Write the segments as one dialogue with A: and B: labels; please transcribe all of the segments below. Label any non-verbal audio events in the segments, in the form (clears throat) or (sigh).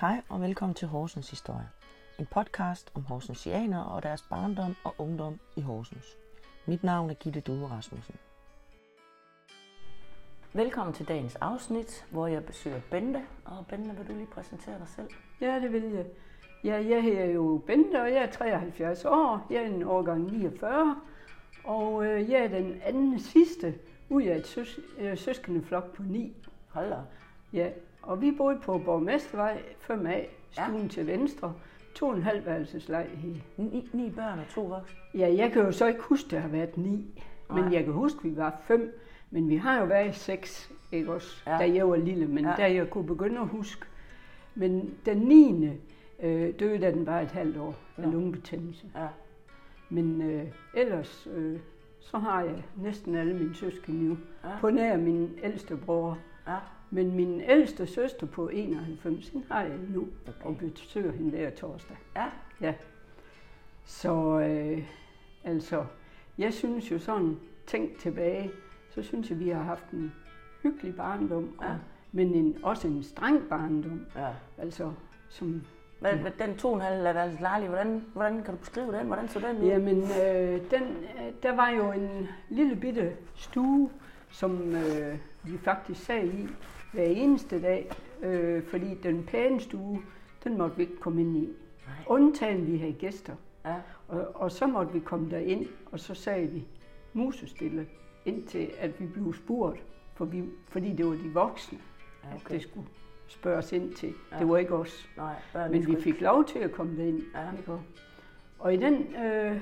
A: Hej og velkommen til Horsens Historie. En podcast om horsensianere og deres barndom og ungdom i Horsens. Mit navn er Gitte Due Rasmussen. Velkommen til dagens afsnit, hvor jeg besøger Bente. Og Bente, vil du lige præsentere dig selv?
B: Ja, det vil jeg. Ja, jeg hedder jo Bente, og jeg er 73 år. Jeg er en årgang 49, og øh, jeg er den anden sidste ud af et søs- øh, søskendeflok på ni.
A: Hold da. op.
B: Ja, og vi boede på Borgmestervej 5A, stuen ja. til venstre, to og en halv værelses lejlighed.
A: Ni, ni børn og to voksne.
B: Ja, jeg kan jo så ikke huske, der har været ni, men
A: Nej.
B: jeg kan huske, vi var fem, men vi har jo været seks, ikke også,
A: Ja.
B: ja. da jeg var lille, men
A: Ja.
B: ja. da jeg kunne begynde at huske. Men den 9. Øh, døde, da den var et halvt år af
A: Nå.
B: lungebetændelse.
A: Ja.
B: Men øh, ellers, øh, så har jeg næsten alle mine søskende nu,
A: Ja.
B: ja. på nær min ældste bror.
A: Ja.
B: Men min ældste søster på 91, hende har jeg nu,
A: Okay.
B: okay. og besøger hende hver torsdag.
A: Ja.
B: Ja. Så øh, altså, jeg synes jo sådan, tænk tilbage, så synes jeg, vi har haft en hyggelig barndom, ja.
A: Ja.
B: og, men en, også en streng barndom.
A: ja.
B: Altså, som,
A: Hvad, hvad, den to og en halv værelses lejlighed, hvordan, hvordan kan du beskrive den? Hvordan så den ud?
B: jamen, øh, den, øh, der var jo en lille bitte stue, som øh, vi faktisk sad i hver eneste dag, øh, fordi den pæne stue, den måtte vi ikke komme ind i.
A: Nej.
B: Undtagen vi havde gæster.
A: Ja.
B: Og, og så måtte vi komme derind, og så sagde vi musestille, indtil at vi blev spurgt, for vi, fordi det var de voksne,
A: Ja,
B: ja,
A: okay.
B: okay. at det skulle spørges ind til. Ja. Det var ikke os.
A: Nej, børnene
B: Men
A: skulle
B: vi fik lov til at komme derind.
A: Ja.
B: Ikke? Og- Og i den øh,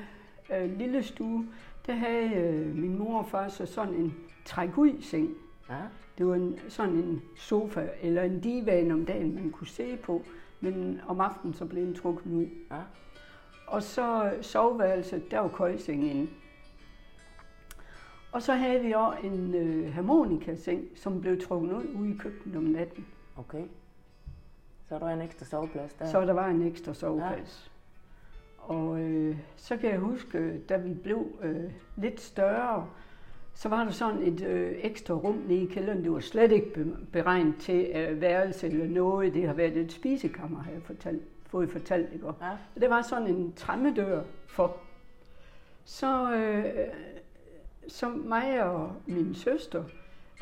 B: øh, lille stue, der havde øh, min mor og far så sådan en træk-ud-seng.
A: ikke- Ja.
B: Det var en, sådan en sofa eller en divan om dagen, man kunne se på, men om aftenen så blev den trukket ud.
A: Ja.
B: Og så øh, soveværelset, der var køjseng inde. Og så havde vi også en øh, harmonikaseng, som blev trukket ud ude i køkkenet om natten.
A: Okay. Så er der en ekstra soveplads der.
B: Ja. Så der var en ekstra soveplads. Ja. Og øh, så kan jeg huske, da vi blev øh, lidt større, så var der sådan et øh, ekstra rum nede i kælderen. Det var slet ikke be- beregnet til øh, værelse eller noget. Det har været et spisekammer, har jeg fortalt, fået fortalt. Ikke?
A: Ja.
B: Og det var sådan en træmmedør for. Så, øh, så mig og min søster,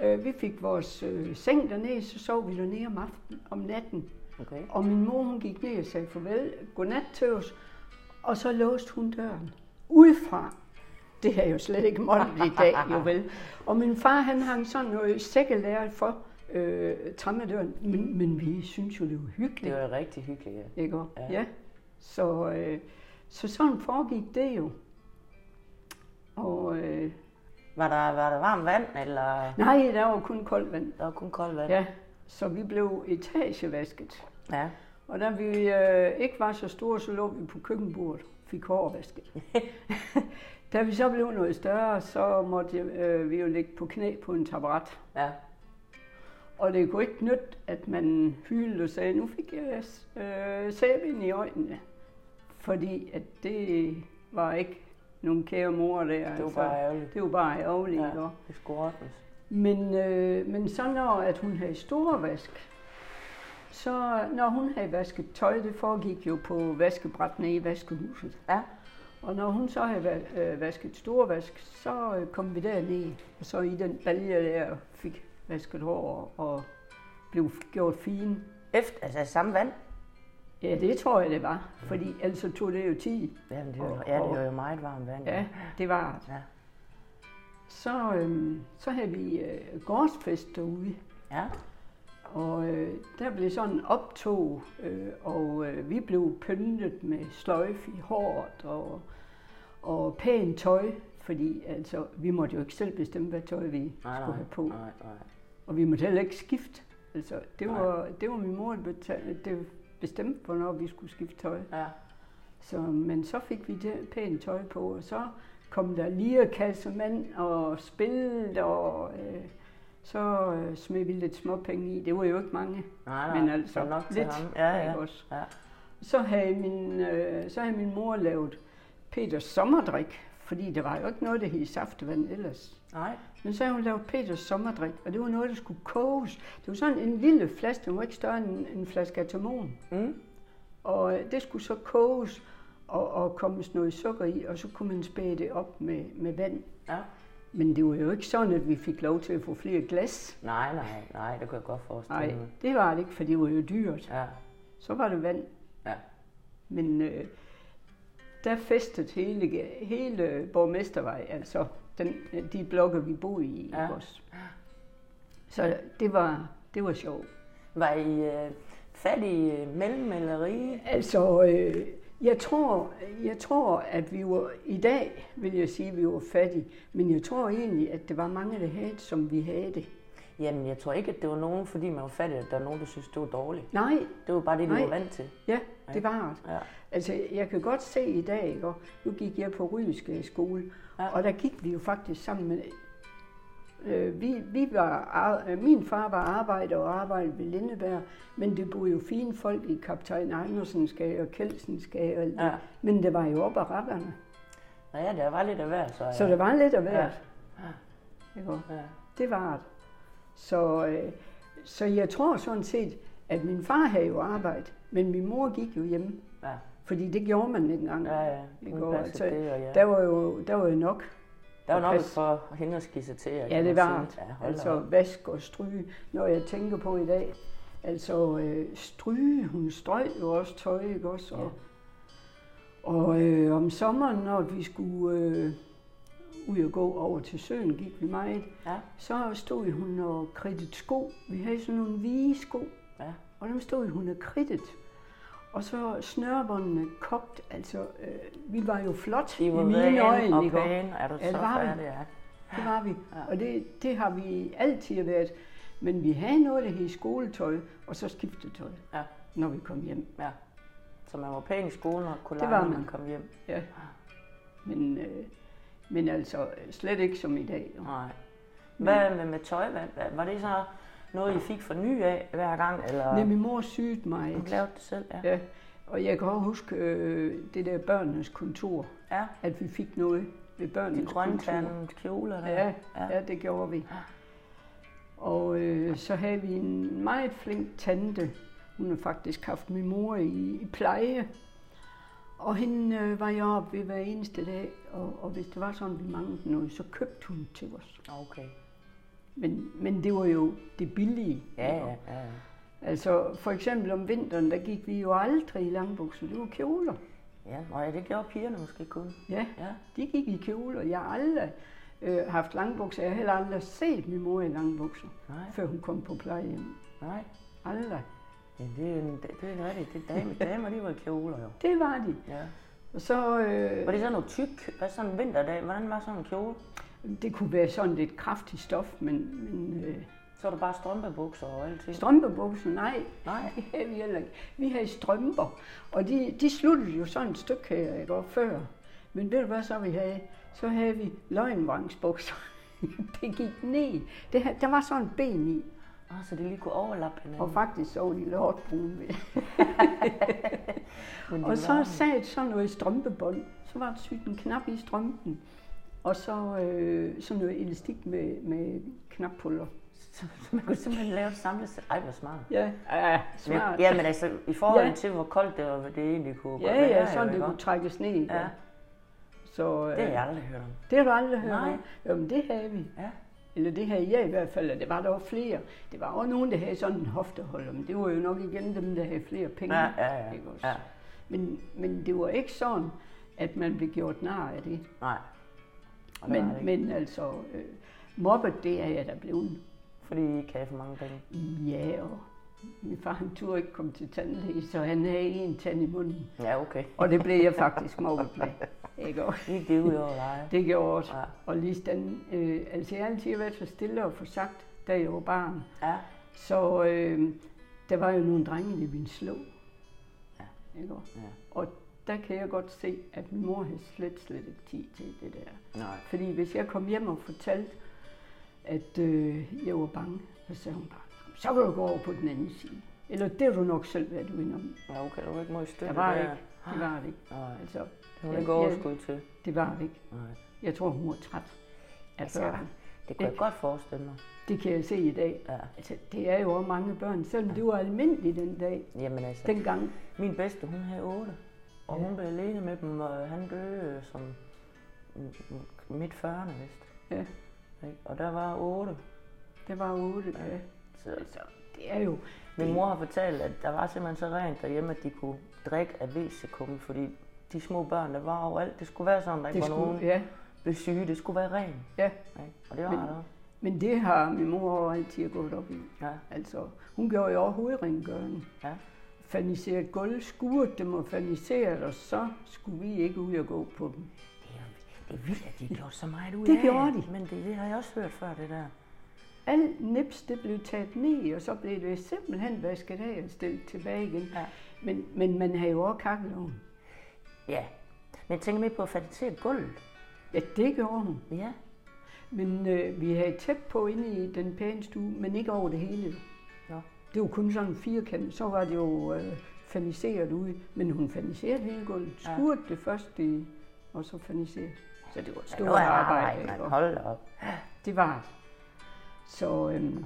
B: øh, vi fik vores øh, seng dernede, så sov vi dernede om aftenen, om natten.
A: Okay.
B: Og min mor, hun gik ned og sagde farvel, godnat til os. Og så låste hun døren udefra. Det har jeg jo slet ikke måttet i dag, jo vel. Og min far, han hang sådan noget sækkelæret for øh, træmmedøren. Men, men vi synes jo, det var hyggeligt.
A: Det var rigtig hyggeligt, ja.
B: Ikke? også?
A: Ja.
B: ja. Så, øh, så sådan foregik det jo. Og øh,
A: Var der, var der varmt vand, eller
B: nej, der var kun koldt vand.
A: der var kun koldt vand?
B: Ja, så vi blev etagevasket.
A: ja.
B: Og da vi øh, ikke var så store, så lå vi på køkkenbordet fik hårvasket. da vi så blev noget større, så måtte øh, vi jo ligge på knæ på en tabaret.
A: ja.
B: Og det kunne ikke nytte, at man hylede og sagde, nu fik jeg øh, sæbe ind i øjnene. Fordi at det var ikke nogen kære mor der. altså.
A: Det var bare ærgerligt.
B: Det var bare ærgerligt. Ja.
A: Ja, det skulle ordnes.
B: Men, øh, men så når at hun havde store vask, så når hun havde vasket tøj, det foregik jo på vaskebræt nede i vaskehuset.
A: Ja.
B: Og når hun så havde va- øh, vasket store vask, så øh, kom vi derned, og så i den balje der fik vasket hår og blev f- gjort fine.
A: Efter, altså samme vand?
B: Ja, det tror jeg, det var, fordi ellers så tog det jo tid.
A: Jamen, det var,
B: Og-
A: ja, det
B: og-
A: var jo meget varmt vand.
B: Ja, det var det.
A: Ja.
B: Så, øh, så havde vi øh, gårdsfest derude.
A: ja.
B: Og øh, der blev sådan en optog, øh, og øh, vi blev pyntet med sløjf i håret og, og pænt tøj, fordi altså, vi måtte jo ikke selv bestemme, hvad tøj vi nej, skulle have på. Nej.
A: Nej, nej.
B: Og vi måtte heller ikke skifte. Altså, det,
A: Nej.
B: var, det var min mor, der beta- det bestemte, hvornår vi skulle skifte tøj.
A: Ja.
B: Så, men så fik vi det pænt tøj på, og så kom der lirekassemand og spil, og øh, så øh, smed vi lidt småpenge i. Det var jo ikke mange.
A: Nej, nej.
B: Men altså,
A: det var nok til
B: lidt.
A: ham. Ja, ja.
B: Ikke også?
A: Ja.
B: Så havde min, øh, så havde min mor lavet Peters sommerdrik, fordi der var jo ikke noget, der hed saftevand ellers.
A: Nej.
B: Men så havde hun lavet Peters sommerdrik, og det var noget, der skulle koges. Det var sådan en lille flaske, den var ikke større end en flaske atomon.
A: Mm.
B: Og øh, det skulle så koges og, og kommes noget sukker i, og så kunne man spæde det op med, med vand.
A: Ja.
B: Men det var jo ikke sådan, at vi fik lov til at få flere glas.
A: Nej, nej, nej, det kan jeg godt forestille
B: Nej,
A: mig.
B: det var det ikke, for det var jo dyrt.
A: Ja,
B: Så var det vand.
A: ja.
B: Men øh, der festede hele, hele Borgmestervej, altså den, de blokke, vi boede i.
A: Ja.
B: Ja. Også. Så det var, det var sjovt.
A: Var I øh, fattige øh, mellem eller rige?
B: Altså, øh, jeg, tror, jeg tror, at vi var, i dag vil jeg sige, at vi var fattige, men jeg tror egentlig, at det var mange, der havde det, som vi havde det.
A: Jamen, jeg tror ikke, at det var nogen, fordi man var fattig, at der var nogen, der synes, det var dårligt.
B: Nej,
A: Det var bare det, de
B: Nej.
A: var vant til.
B: Ja, det var det.
A: Ja.
B: Altså, jeg kan godt se i dag, ikke? Og nu gik jeg på Ryske skole,
A: Ja.
B: ja. og der gik vi jo faktisk sammen med... Øh, vi, vi var, ar- øh, min far var arbejder og arbejdede ved Lindeberg, men det boede jo fine folk i Kaptajn Andersens gade og Kelsens gade. Og
A: Ja.
B: ja. Men det var jo op ad rakkerne,
A: Nå ja, der var lidt af hver, så.
B: så det var lidt af hvert.
A: Ja.
B: Ikke? Og
A: Ja.
B: Det var det. Så, øh, så jeg tror sådan set, at min far havde jo arbejde, men min mor gik jo hjemme.
A: Ja.
B: Fordi det gjorde man ikke engang.
A: Ja, ja.
B: I
A: Hun
B: går,
A: passede
B: altså,
A: det, og ja.
B: Der var jo, der var jo nok.
A: Der var
B: at
A: nok
B: passe.
A: for hende at skisse til.
B: Ja, det var
A: Ja, hold altså,
B: Altså vask og stryge, når jeg tænker på i dag. Altså øh, stryge, hun strøg jo også tøj, ikke også? Og, og øh, om sommeren, når vi skulle øh, ud og gå over til søen, gik vi meget.
A: Ja.
B: Så stod hun og kridtede sko. Vi havde sådan nogle vige sko.
A: Ja.
B: Og dem stod hun og kridtet. Og så snørbåndene kogt, altså øh, vi var jo flot
A: I
B: i
A: var
B: mine
A: rene og
B: øjne, ikke? Og
A: pæne. Er du
B: Ja,
A: så
B: det var vi.
A: færdig? Ja.
B: Det var vi, og det, det har vi altid været. Men vi havde noget, der hed skoletøj, og så skiftetøj,
A: Ja.
B: når vi kom hjem.
A: ja. Så man var pæn i skolen og kunne
B: Det
A: lege,
B: var
A: når man
B: man. Mm.
A: kom hjem.
B: Ja. Men, øh, men altså øh, slet ikke som i dag. jo.
A: Nej. Hvad med, med tøj? Hvad, hvad, var det så noget, I fik for ny af hver gang? Eller
B: Nej, min mor sygede mig.
A: du lavede det selv? Ja.
B: Ja. Og jeg kan også huske øh, det der børnenes kontor,
A: ja.
B: at vi fik noget ved
A: De
B: børnenes kontor.
A: grøntandede kjoler der.
B: Ja,
A: Ja.
B: ja. ja, det gjorde vi. Og øh, så havde vi en meget flink tante. Hun har faktisk haft min mor i, i pleje. Og hende øh, var jeg oppe ved hver eneste dag, og, og hvis det var sådan, vi manglede noget, så købte hun til os.
A: Okay.
B: Men, men det var jo det billige.
A: Ja,
B: ikke?
A: ja, ja. ja.
B: Altså for eksempel om vinteren, der gik vi jo aldrig i langbukser, det var kjoler.
A: Ja, og ja, det gjorde pigerne måske kun.
B: Ja,
A: Ja.
B: de gik i kjoler. Jeg har aldrig øh, haft langbukser. Jeg har heller aldrig set min mor i langbukser,
A: Nej.
B: før hun kom på plejehjem.
A: Nej.
B: Aldrig.
A: Ja, det er en, det er en rigtig, det er
B: (laughs)
A: dame, damer, de var i kjoler jo.
B: Det var de.
A: Ja.
B: Og så, øh,
A: Var det sådan noget tyk, hvad sådan en vinterdag, hvordan var sådan en kjole?
B: det kunne være sådan lidt kraftigt stof, men, men øh,
A: Så var det bare strømpebukser og alt det.
B: strømpebukser, nej,
A: Nej.
B: (laughs) det havde vi heller ikke. Vi havde strømper, og de, de sluttede jo sådan et stykke her, ikke, og før. Men ved du hvad så vi havde? Så havde vi løgnvrangsbukser. (laughs) det gik ned. Det, havde- der var sådan et ben i,
A: Ah, så det lige kunne overlappe
B: og
A: hinanden.
B: faktisk så de lortbrune ved.
A: (laughs) Men de
B: Og så
A: var-
B: sagde jeg sådan noget strømpebånd. Så var der sygt en knap i strømpen. Og så øh, sådan noget elastik med, med knappuller.
A: Så, (laughs) så man kunne simpelthen lave et samlet sæt. Ej, hvor smart.
B: Ja, ja, smart.
A: Men, ja, men altså, i forhold
B: Ja.
A: til, hvor koldt det var, hvad det egentlig kunne godt
B: Ja, ja,
A: være,
B: sådan
A: jo,
B: det
A: ikke
B: kunne
A: også?
B: trækkes ned. ikke?
A: Ja,
B: Så øh,
A: det har jeg aldrig hørt om.
B: det har du aldrig hørt
A: Nej.
B: om. Jamen det havde vi.
A: Ja.
B: Eller det havde jeg i hvert fald, og det var der også flere. Det var også nogen, der havde sådan en hofteholder, men det var jo nok igen dem, der havde flere penge.
A: Ja, ja, ja.
B: ikke også?
A: ja.
B: Men, men det var ikke sådan, at man blev gjort nar af det.
A: Nej. Og det var det
B: Men,
A: ikke.
B: men altså, øh, mobbet, det er jeg da blevet.
A: Fordi I ikke havde for mange penge.
B: Ja, og min far han turde ikke komme til tandlæge, så han havde en tand i munden.
A: Ja, okay.
B: Og det blev jeg faktisk mobbet med. (laughs) Ikke? Og
A: Lige det ud over
B: (laughs)
A: dig.
B: det gjorde jeg også.
A: Ja.
B: Og lige stand, øh, altså jeg har altid været så stille og for sagt, da jeg var barn.
A: Ja.
B: Så øh, der var jo nogle drenge, der ville slå.
A: Ja.
B: Ikke? Og-
A: Ja.
B: Og der kan jeg godt se, at min mor havde slet, slet ikke tid til det der.
A: Nej.
B: Fordi hvis jeg kom hjem og fortalte, at øh, jeg var bange, så sagde hun bare, så kan du gå over på den anden side. Eller det er du nok selv været uden om.
A: Ja, okay, du var ikke meget støtte.
B: Der var
A: der.
B: ikke. Det var det ikke.
A: Nej,
B: Altså,
A: det var
B: Ja,
A: ikke
B: ja.
A: overskud til.
B: det var det ikke.
A: Nej.
B: Jeg tror, hun var træt af
A: Altså,
B: børn.
A: Det kunne jeg godt forestille mig.
B: Det kan jeg se i dag.
A: Ja.
B: Altså, det er jo også mange børn, selvom det var almindeligt den dag,
A: Jamen altså, den...
B: dengang.
A: min bedste, hun havde otte. Og hun blev alene med dem, og han døde som mm, mm, midt 40'erne vist.
B: Ja,
A: ikke? Og der var otte.
B: det var otte dage.
A: Så
B: Så det er jo...
A: Min mor har fortalt, at der var simpelthen så rent derhjemme, at de kunne drikke af WC-kummen, fordi de små børn, der var overalt, det skulle være sådan, der ikke
B: Det
A: var nogen,
B: skulle, ja,
A: blev syge. Det skulle være rent.
B: ja.
A: Ikke? Og det var der også.
B: Men det har min mor altid gået op i.
A: Ja,
B: Altså, hun gjorde jo også hovedrengøring.
A: ja.
B: Faniseret gulv, skuret dem og faniseret, og så skulle vi ikke ud og gå på dem.
A: Det er, jo- det er vildt, at de har gjort så meget ud
B: Det
A: af
B: gjorde de.
A: Men det, det har jeg også hørt før, det der.
B: Alt nips, det blev taget ned, og så blev det simpelthen vasket af og stillet tilbage igen.
A: Ja.
B: Men, men man havde jo også kakkeloven.
A: Ja. Men jeg tænker mere på at fatte gulvet.
B: Ja, det gjorde hun.
A: Ja.
B: Men øh, vi havde tæt på inde i den pæne stue, men ikke over det hele.
A: Nå.
B: Det var kun sådan en firkant, så var det jo øh, faniseret ude. Men hun faniserede hele gulvet,
A: Ja.
B: skurte det først i, og så faniseret. Så det var et
A: Det
B: stort
A: var
B: ja,
A: arbejde,
B: arbejde.
A: man.
B: og
A: Hold da op.
B: Det var det. Så, øhm,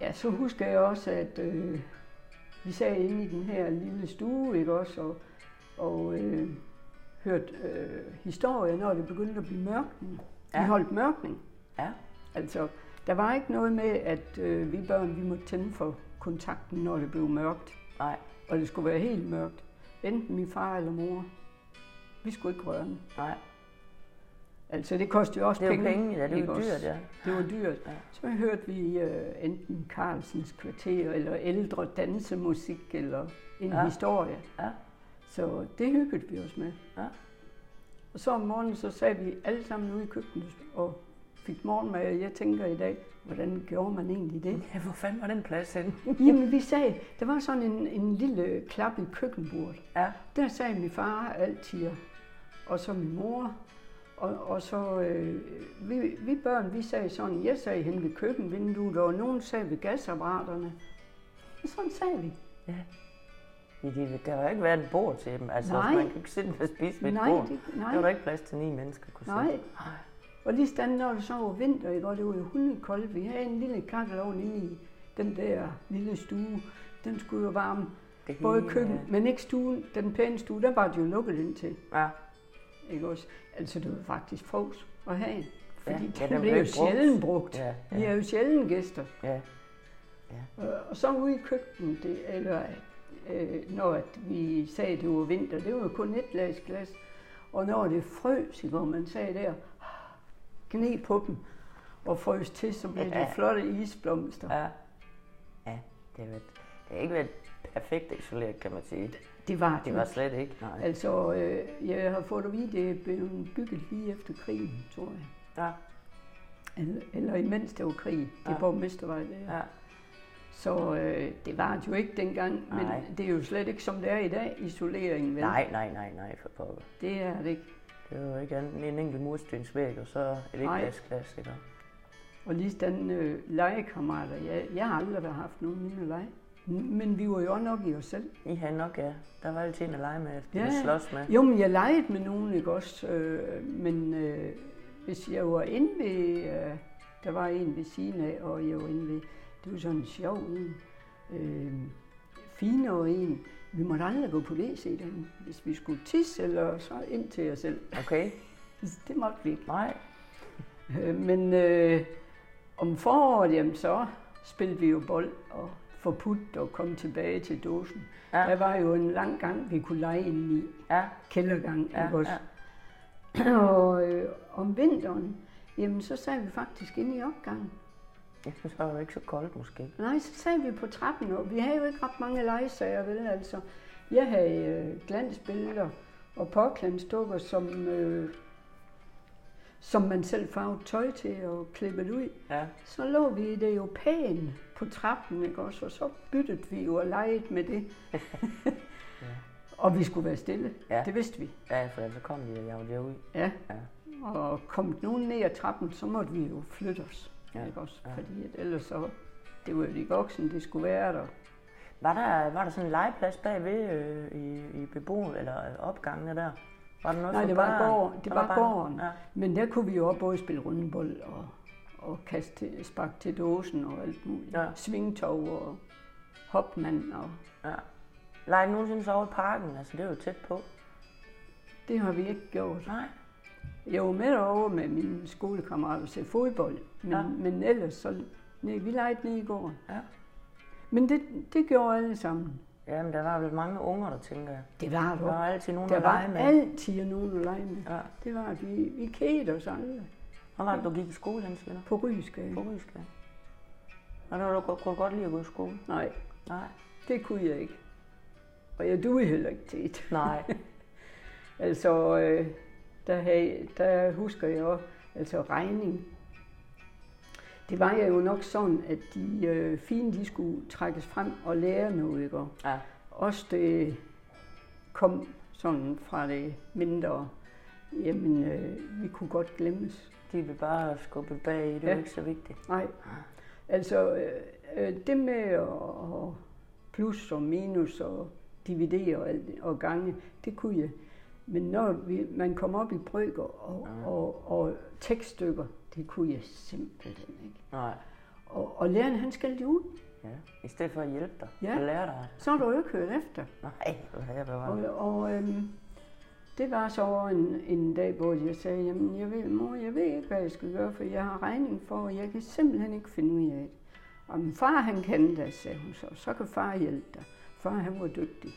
B: ja, så husker jeg også, at øh, vi sad inde i den her lille stue, ikke også, og, og øh, hørte øh, historier, når det begyndte at blive mørkning. Ja.
A: Ja.
B: Vi holdt mørkning.
A: Ja.
B: Altså, der var ikke noget med, at øh, vi børn vi måtte tænde for kontakten, når det blev mørkt.
A: Nej,
B: Og det skulle være helt mørkt. Enten min far eller mor. Vi skulle ikke røre den.
A: nej.
B: Altså, det kostede jo også
A: Det er jo
B: penge.
A: penge, ja. Det er
B: ikke
A: jo
B: også?
A: dyrt, ja.
B: Det var dyrt.
A: Ja.
B: Så hørte vi øh, enten Carlsens kvarter, eller ældre dansemusik, eller en
A: Ja.
B: ja. historie.
A: Ja.
B: Så det hyggede vi os med.
A: Ja.
B: Og så om morgenen, så sad vi alle sammen ude i køkkenet og fik morgenmad. Og jeg tænker i dag, hvordan gjorde man egentlig det?
A: ja. Hvor fanden var den plads henne?
B: Jamen vi sagde, der var sådan en, en lille klap i køkkenbordet.
A: Ja.
B: Der sagde min far altid, og så min mor, og, og så øh, vi, vi børn, vi sagde sådan, jeg sagde hen ved køkkenvinduet, og nogen sagde ved gasapparaterne. Og sådan sagde vi.
A: Ja, det, der har jo ikke været et bord til dem. Altså,
B: Nej.
A: man kan ikke sidde og spise ved et
B: Nej,
A: bord.
B: det,
A: Der var der
B: nej,
A: ikke plads til ni mennesker, kunne sidde.
B: nej. Og lige stand, når det så var vinter, ikke? og det var jo hundekoldt, vi havde en lille kakkelovn inde i den der lille stue. Den skulle jo varme
A: Det
B: både
A: hele,
B: køkken, men ikke stuen, den pæne stue, der var det jo lukket ind til.
A: Ja.
B: Ikke også? Altså, det var faktisk fros at have en. Fordi
A: Ja,
B: ja,
A: ja,
B: den, blev jo
A: ikke brugt.
B: sjældent brugt.
A: Ja,
B: Vi
A: ja,
B: er jo sjældent gæster.
A: ja.
B: Og- Og så ude i køkkenet, det, eller øh, når at vi sagde, det var vinter, det var jo kun et glas glas. Og når det frøs, hvor man sagde der, gne på dem og frøs til, så blev
A: Ja.
B: det flotte isblomster.
A: Ja. Ja, det har, været, det har ikke været perfekt isoleret, kan man sige.
B: Det var
A: Det var slet ikke. Nej.
B: Altså, øh, jeg har fået at vide, det blev bygget lige efter krigen, tror jeg.
A: Ja,
B: Eller, eller imens det var krig. Det er
A: Ja.
B: ja. borgmestervej, det er.
A: ja.
B: Så øh, det var det jo ikke dengang, men
A: Nej.
B: Nej. det er jo slet ikke som det er i dag, isoleringen. Vel?
A: Nej, nej, nej, nej, for pokker.
B: Det er det ikke.
A: Det var jo ikke andet end en enkelt murstensvæg, og så et
B: Nej.
A: ægglasglas, ikke?
B: Og lige sådan øh, legekammerater, jeg, jeg har aldrig haft nogen mine lege. Men vi var jo også nok i os selv.
A: I havde nok, ja. Der var altid en at lege med,
B: Ja,
A: ja.
B: ja.
A: at slås med.
B: Jo, men jeg legede med nogen, ikke også? Øh, men øh, hvis jeg var inde ved, øh, der var en ved siden af, og jeg var inde ved, det var sådan en sjov en, øh, finere en. Vi måtte aldrig gå på WC derinde, hvis vi skulle tisse, eller så ind til os selv. (laughs)
A: Okay?
B: Det måtte vi ikke.
A: Nej.
B: Øh, Men øh, om foråret, jamen, så spillede vi jo bold og forpudt og kom tilbage til dåsen.
A: Ja.
B: Ja. Der var jo en lang gang, vi kunne lege inde i
A: Ja,
B: kældergang.
A: ja,
B: ikke også?
A: ja.
B: (clears throat) Og øh, om vinteren, jamen, så sad vi faktisk inde i opgangen.
A: Jeg synes, det var jo ikke så koldt, måske.
B: Nej, så sad vi på trappen, og vi havde jo ikke ret mange legesager, vel altså. Jeg havde øh, glansbilleder og påklædningsdukker, som, øh, som man selv farvede tøj til og klippede ud.
A: Ja,
B: Så lå vi i det jo pænt på trappen, ikke også? Og så byttede vi jo og legede med
A: (laughs)
B: det. (laughs) og vi skulle være stille.
A: Ja.
B: Det vidste vi.
A: ja for ellers så kom de og jeg derud.
B: Ja.
A: Ja.
B: Og kom nogen ned ad trappen, så måtte vi jo flytte os.
A: Ja.
B: Ja. Ikke også?
A: Ja.
B: Fordi at ellers så, det var jo de voksne, det skulle være der.
A: Var der, var der sådan en legeplads bagved øh, i, i beboet, eller øh, opgangene der? Var der noget
B: Nej,
A: for
B: det var,
A: børn?
B: gården. det
A: Der
B: var,
A: bare-
B: gården.
A: Ja.
B: Men der kunne vi jo også både spille rundbold og, og kaste til, spark til dåsen og alt muligt.
A: Ja.
B: Svingtog og hopmand. Og,
A: ja. Leger I nogensinde så over i parken? Altså, det er jo tæt på.
B: det har vi ikke gjort.
A: Nej.
B: Jeg var med over med mine skolekammerater til fodbold. Men,
A: Ja.
B: ja. men ellers så... Nej, vi legede ned i gården.
A: Ja.
B: Men det, det gjorde alle sammen.
A: Jamen, der var vel mange unger, der tænker jeg.
B: Det var
A: Der var altid nogen, der,
B: Der
A: der
B: var
A: legede med.
B: altid nogen at lege med.
A: Ja.
B: Det var, at vi, vi kedede os alle
A: Hvor var det, du gik i skole, han siger?
B: på Rysgade.
A: På Rysgade. Og der du godt, kunne du godt lide at gå i skole?
B: Nej,
A: Nej.
B: det kunne jeg ikke. Og jeg duede heller ikke til det. (laughs)
A: Nej.
B: Altså, øh, der, havde, der husker jeg også, altså regning. Det var jeg jo nok sådan, at de øh, fine, de skulle trækkes frem og lære noget, ikke? Og
A: ja.
B: Også det kom sådan fra det mindre, jamen, øh, vi kunne godt glemmes.
A: De vil bare skubbe bag i, det er jo
B: Ja.
A: ikke så vigtigt.
B: Nej. Altså, øh, øh, det med at og plus og minus og dividere og, alt det- og gange, det kunne jeg. Men når vi, man kom op i brøker og, og, og tekststykker, det kunne jeg simpelthen ikke.
A: Nej.
B: Og, og læreren, han skældte ud.
A: Ja. I stedet for at hjælpe dig
B: Ja.
A: og lære dig.
B: Så har du jo ikke hørt efter.
A: Nej, hvor er jeg bevaret.
B: Og, og øhm, det var så over en, en dag, hvor jeg sagde, jamen jeg ved, mor, jeg ved ikke, hvad jeg skal gøre, for jeg har regning for, og jeg kan simpelthen ikke finde ud af det. Og min far, han kan det, sagde hun så, så kan far hjælpe dig. Far, han var dygtig,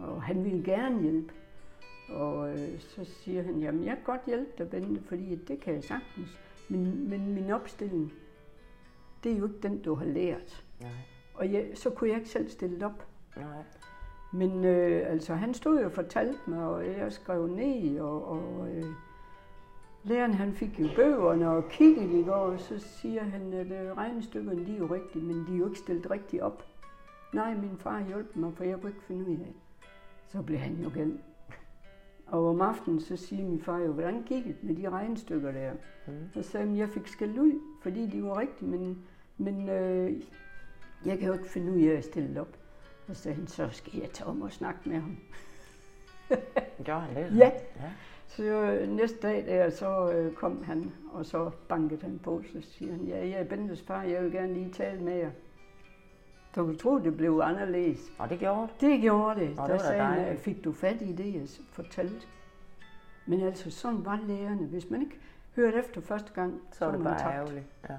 B: og han ville gerne hjælpe. Og øh, så siger han, jamen jeg kan godt hjælpe dig, Bente, fordi at det kan jeg sagtens. Men, men min opstilling, det er jo ikke den, du har lært.
A: Nej.
B: Og jeg, så kunne jeg ikke selv stille det op.
A: Nej.
B: Men øh, altså, han stod jo og fortalte mig, og jeg skrev ned, og, og øh, læreren han fik jo bøgerne og kiggede i går, og så siger han, at øh, regnestykkerne de er jo rigtige, men de er jo ikke stillet rigtigt op. Nej, min far hjalp mig, for jeg kunne ikke finde ud af det. Så blev han jo galt. Og om aftenen så siger min far jo, hvordan gik det med de regnestykker der?
A: Mm.
B: Så sagde han, jeg fik skæld ud, fordi de var rigtige, men, men øh, jeg kan jo ikke finde ud af at stille det op. Og så sagde han, så skal jeg tage om og snakke med ham.
A: Gjorde han det? så?
B: Ja.
A: ja.
B: Så øh, næste dag der, så øh, kom han, og så bankede han på, så siger han, ja, jeg er Bentes far, jeg vil gerne lige tale med jer. Så du tro, det blev anderledes.
A: Og det gjorde det.
B: Det gjorde det.
A: var
B: der
A: da
B: sagde han, "Øh,
A: dejligt.
B: fik du fat i det, jeg s- fortalte. Men altså, sådan var lærerne. Hvis man ikke hørte efter første gang,
A: Så var det
B: man
A: bare
B: tabt.
A: ærgerligt. Ja.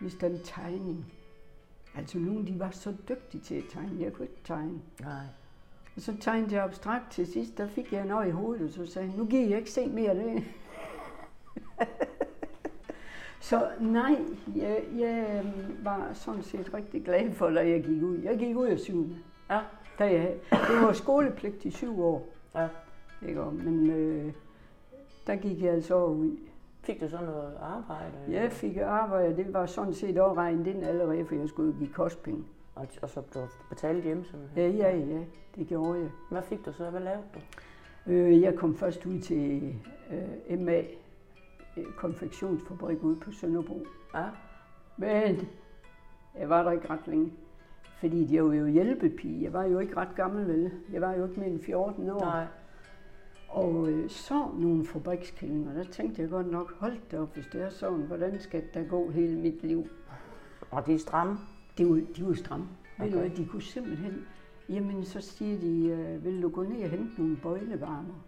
B: Hvis den tegning. Altså, nogle de var så dygtige til at tegne. Jeg kunne ikke tegne.
A: Nej.
B: Og så tegnede jeg abstrakt til sidst, der fik jeg noget i hovedet, og så sagde han, nu giver jeg ikke se mere af det. (laughs) så nej, jeg, jeg øh, var sådan set rigtig glad for, da jeg gik ud. Jeg gik ud af syvende.
A: Ja.
B: Da jeg, det var skolepligt i syv år,
A: ja.
B: ikke? Og- men øh, der gik jeg altså ud.
A: Fik du så noget arbejde?
B: Jeg fik arbejde, det var sådan set også regnet ind allerede, for jeg skulle jo give kostpenge.
A: Og, og så blev du betalt hjemme simpelthen?
B: Ja, ja, ja, det gjorde jeg.
A: Hvad fik du så? Hvad lavede du?
B: Øh, Jeg kom først ud til øh, MA øh, konfektionsfabrik ude på Sønderbro.
A: Ja.
B: Men jeg var der ikke ret længe, fordi jeg var jo hjælpepige. Jeg var jo ikke ret gammel, vel? Jeg var jo ikke mere end 14 år.
A: Nej.
B: Og øh, så nogle fabrikskillinger, der tænkte jeg godt nok, hold da op, hvis det er sådan, hvordan skal der gå hele mit liv?
A: Og de er stramme?
B: Det var, de var stramme. Okay. Ved du
A: Okay.
B: hvad, de kunne simpelthen... Jamen, så siger de, øh, vil du gå ned og hente nogle bøjlevarmer?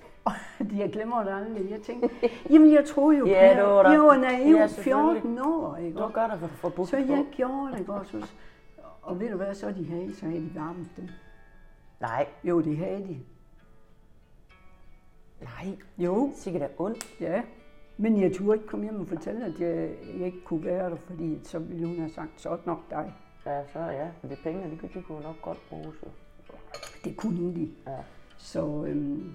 B: (laughs) Og de- jeg glemmer det aldrig. Jeg tænkte, jamen jeg troede jo,
A: Ja,
B: jeg,
A: det var da-
B: jeg var naiv
A: Ja,
B: 14 år, ikke?
A: Det var godt at få- få bukt
B: Så jeg
A: på.
B: gjorde det ikke også. Og ved du hvad, så de havde, så havde de varmet dem.
A: Nej.
B: Jo, det havde de.
A: Nej.
B: Jo,
A: Sikkert er ondt.
B: ja. Men jeg turde ikke komme hjem og fortælle, at jeg, jeg ikke kunne være der, fordi så ville hun have sagt, så er det nok dig.
A: Ja, så ja. Men det penge, de, kunne- de kunne nok godt bruges jo.
B: Det kunne de.
A: Ja.
B: Så øhm,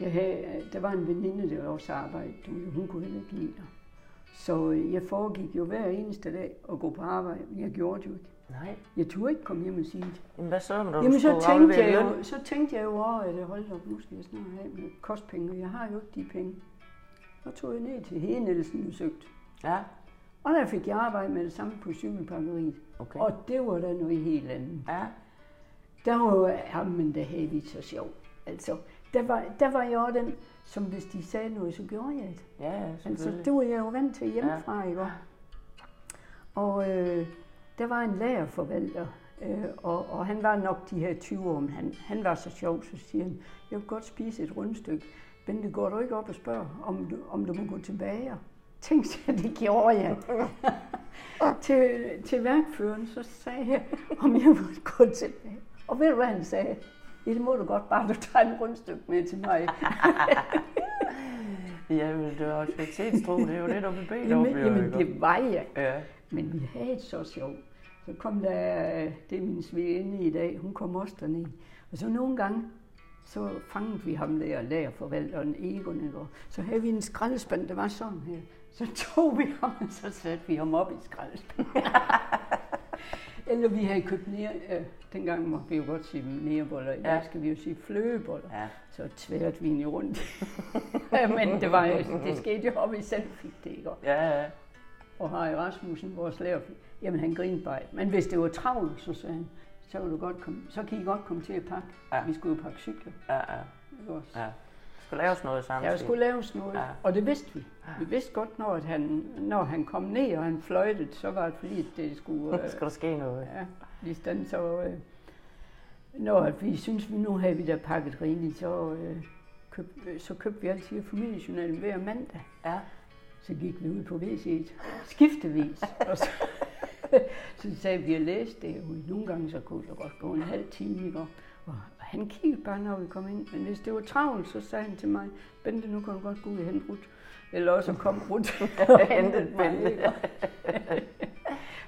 B: jeg havde, der var en veninde, der også arbejdede, du ved, hun kunne heller ikke lide dig. Så øh, jeg foregik jo hver eneste dag at gå på arbejde, men jeg gjorde det jo ikke.
A: Nej.
B: Jeg turde ikke komme hjem og sige det.
A: Jamen, hvad så, når du
B: Jamen så
A: skulle
B: tænkte,
A: aflevere
B: jeg
A: løn?
B: jo, så tænkte jeg jo over, at jeg holdt op, nu skal jeg snart have med kostpenge, og jeg har jo ikke de penge. Så tog jeg ned til Henelsen og søgte.
A: Ja.
B: Og der fik jeg arbejde med det samme på cykelpakkeriet.
A: Okay.
B: Og det var da noget helt andet.
A: Ja.
B: Der var jo, jamen, der havde vi så sjov. Altså, Der var, der var jeg også den, som hvis de sagde noget, så gjorde jeg det.
A: Ja, ja,
B: Altså,
A: selvfølgelig.
B: det var jeg jo vant til hjemmefra, ja. ikke? også? Og øh, der var en lærerforvalter, øh, og, og han var nok de her 20 år, men han, han var så sjov, så siger han, jeg vil godt spise et rundstykke, men det går du ikke op og spørger, om du, om du må gå tilbage. Tænk sig, det gjorde
A: (laughs)
B: jeg. til, til værkføren, så sagde jeg, om jeg måtte gå tilbage. Og ved du, hvad han sagde? Ja, det må du godt, bare du tager en rundstykke med til mig.
A: Ja, men det er autoritetstro, det er jo det, du bliver bedt om.
B: Jamen,
A: jo,
B: jamen
A: ikke?
B: det var jeg.
A: Ja.
B: Men vi havde det så sjovt. Så kom der, øh, det er min svigerinde i dag, hun kom også derned. Og så nogle gange, så fangede vi ham der, lærerforvalteren Egon, ikke? Og så havde vi en skraldespand, der var sådan her. Så tog vi ham, og så satte vi ham op i skraldespanden. (laughs) Eller vi havde købt nære, øh, dengang må vi jo godt sige næreboller, i dag
A: Ja.
B: skal vi jo sige flødeboller.
A: Ja.
B: Så tværte vi jo rundt. (laughs) Men det, var, jo- det skete jo, og vi selv fik det, ikke?
A: Ja, ja.
B: Og Harry Rasmussen, vores lærer, jamen han grinede bare. af. Men hvis det var travlt, så sagde han, så, vil du godt komme, så kan I godt komme til at pakke.
A: Ja.
B: Ja. Vi skulle jo pakke cykler.
A: ja, ja.
B: ikke også?
A: ja. Der skulle laves noget sammen.
B: Der skulle laves noget,
A: Ja.
B: ja. og det vidste vi. Vi vidste godt, når, at han, når han kom ned, og han fløjtede, så var det fordi, at det skulle...
A: Der
B: Øh,
A: (laughs) skal der ske noget.
B: ja, ligesom så... Øh, når at vi synes, vi nu havde vi da pakket rigeligt, så, øh, køb, øh, så købte vi altid familiejournalen hver mandag.
A: Ja.
B: Så gik vi ud på WC'et, skiftevis. Og så, så sagde vi, at læse det ud. Nogle gange så kunne det godt gå en halv time i går. Og han kiggede bare, når vi kom ind. Men hvis det var travlt, så sagde han til mig, Bente, nu kan du godt gå ud og hente Rut. Eller også kom Rut og hentede mig.
A: Bente.
B: ikke?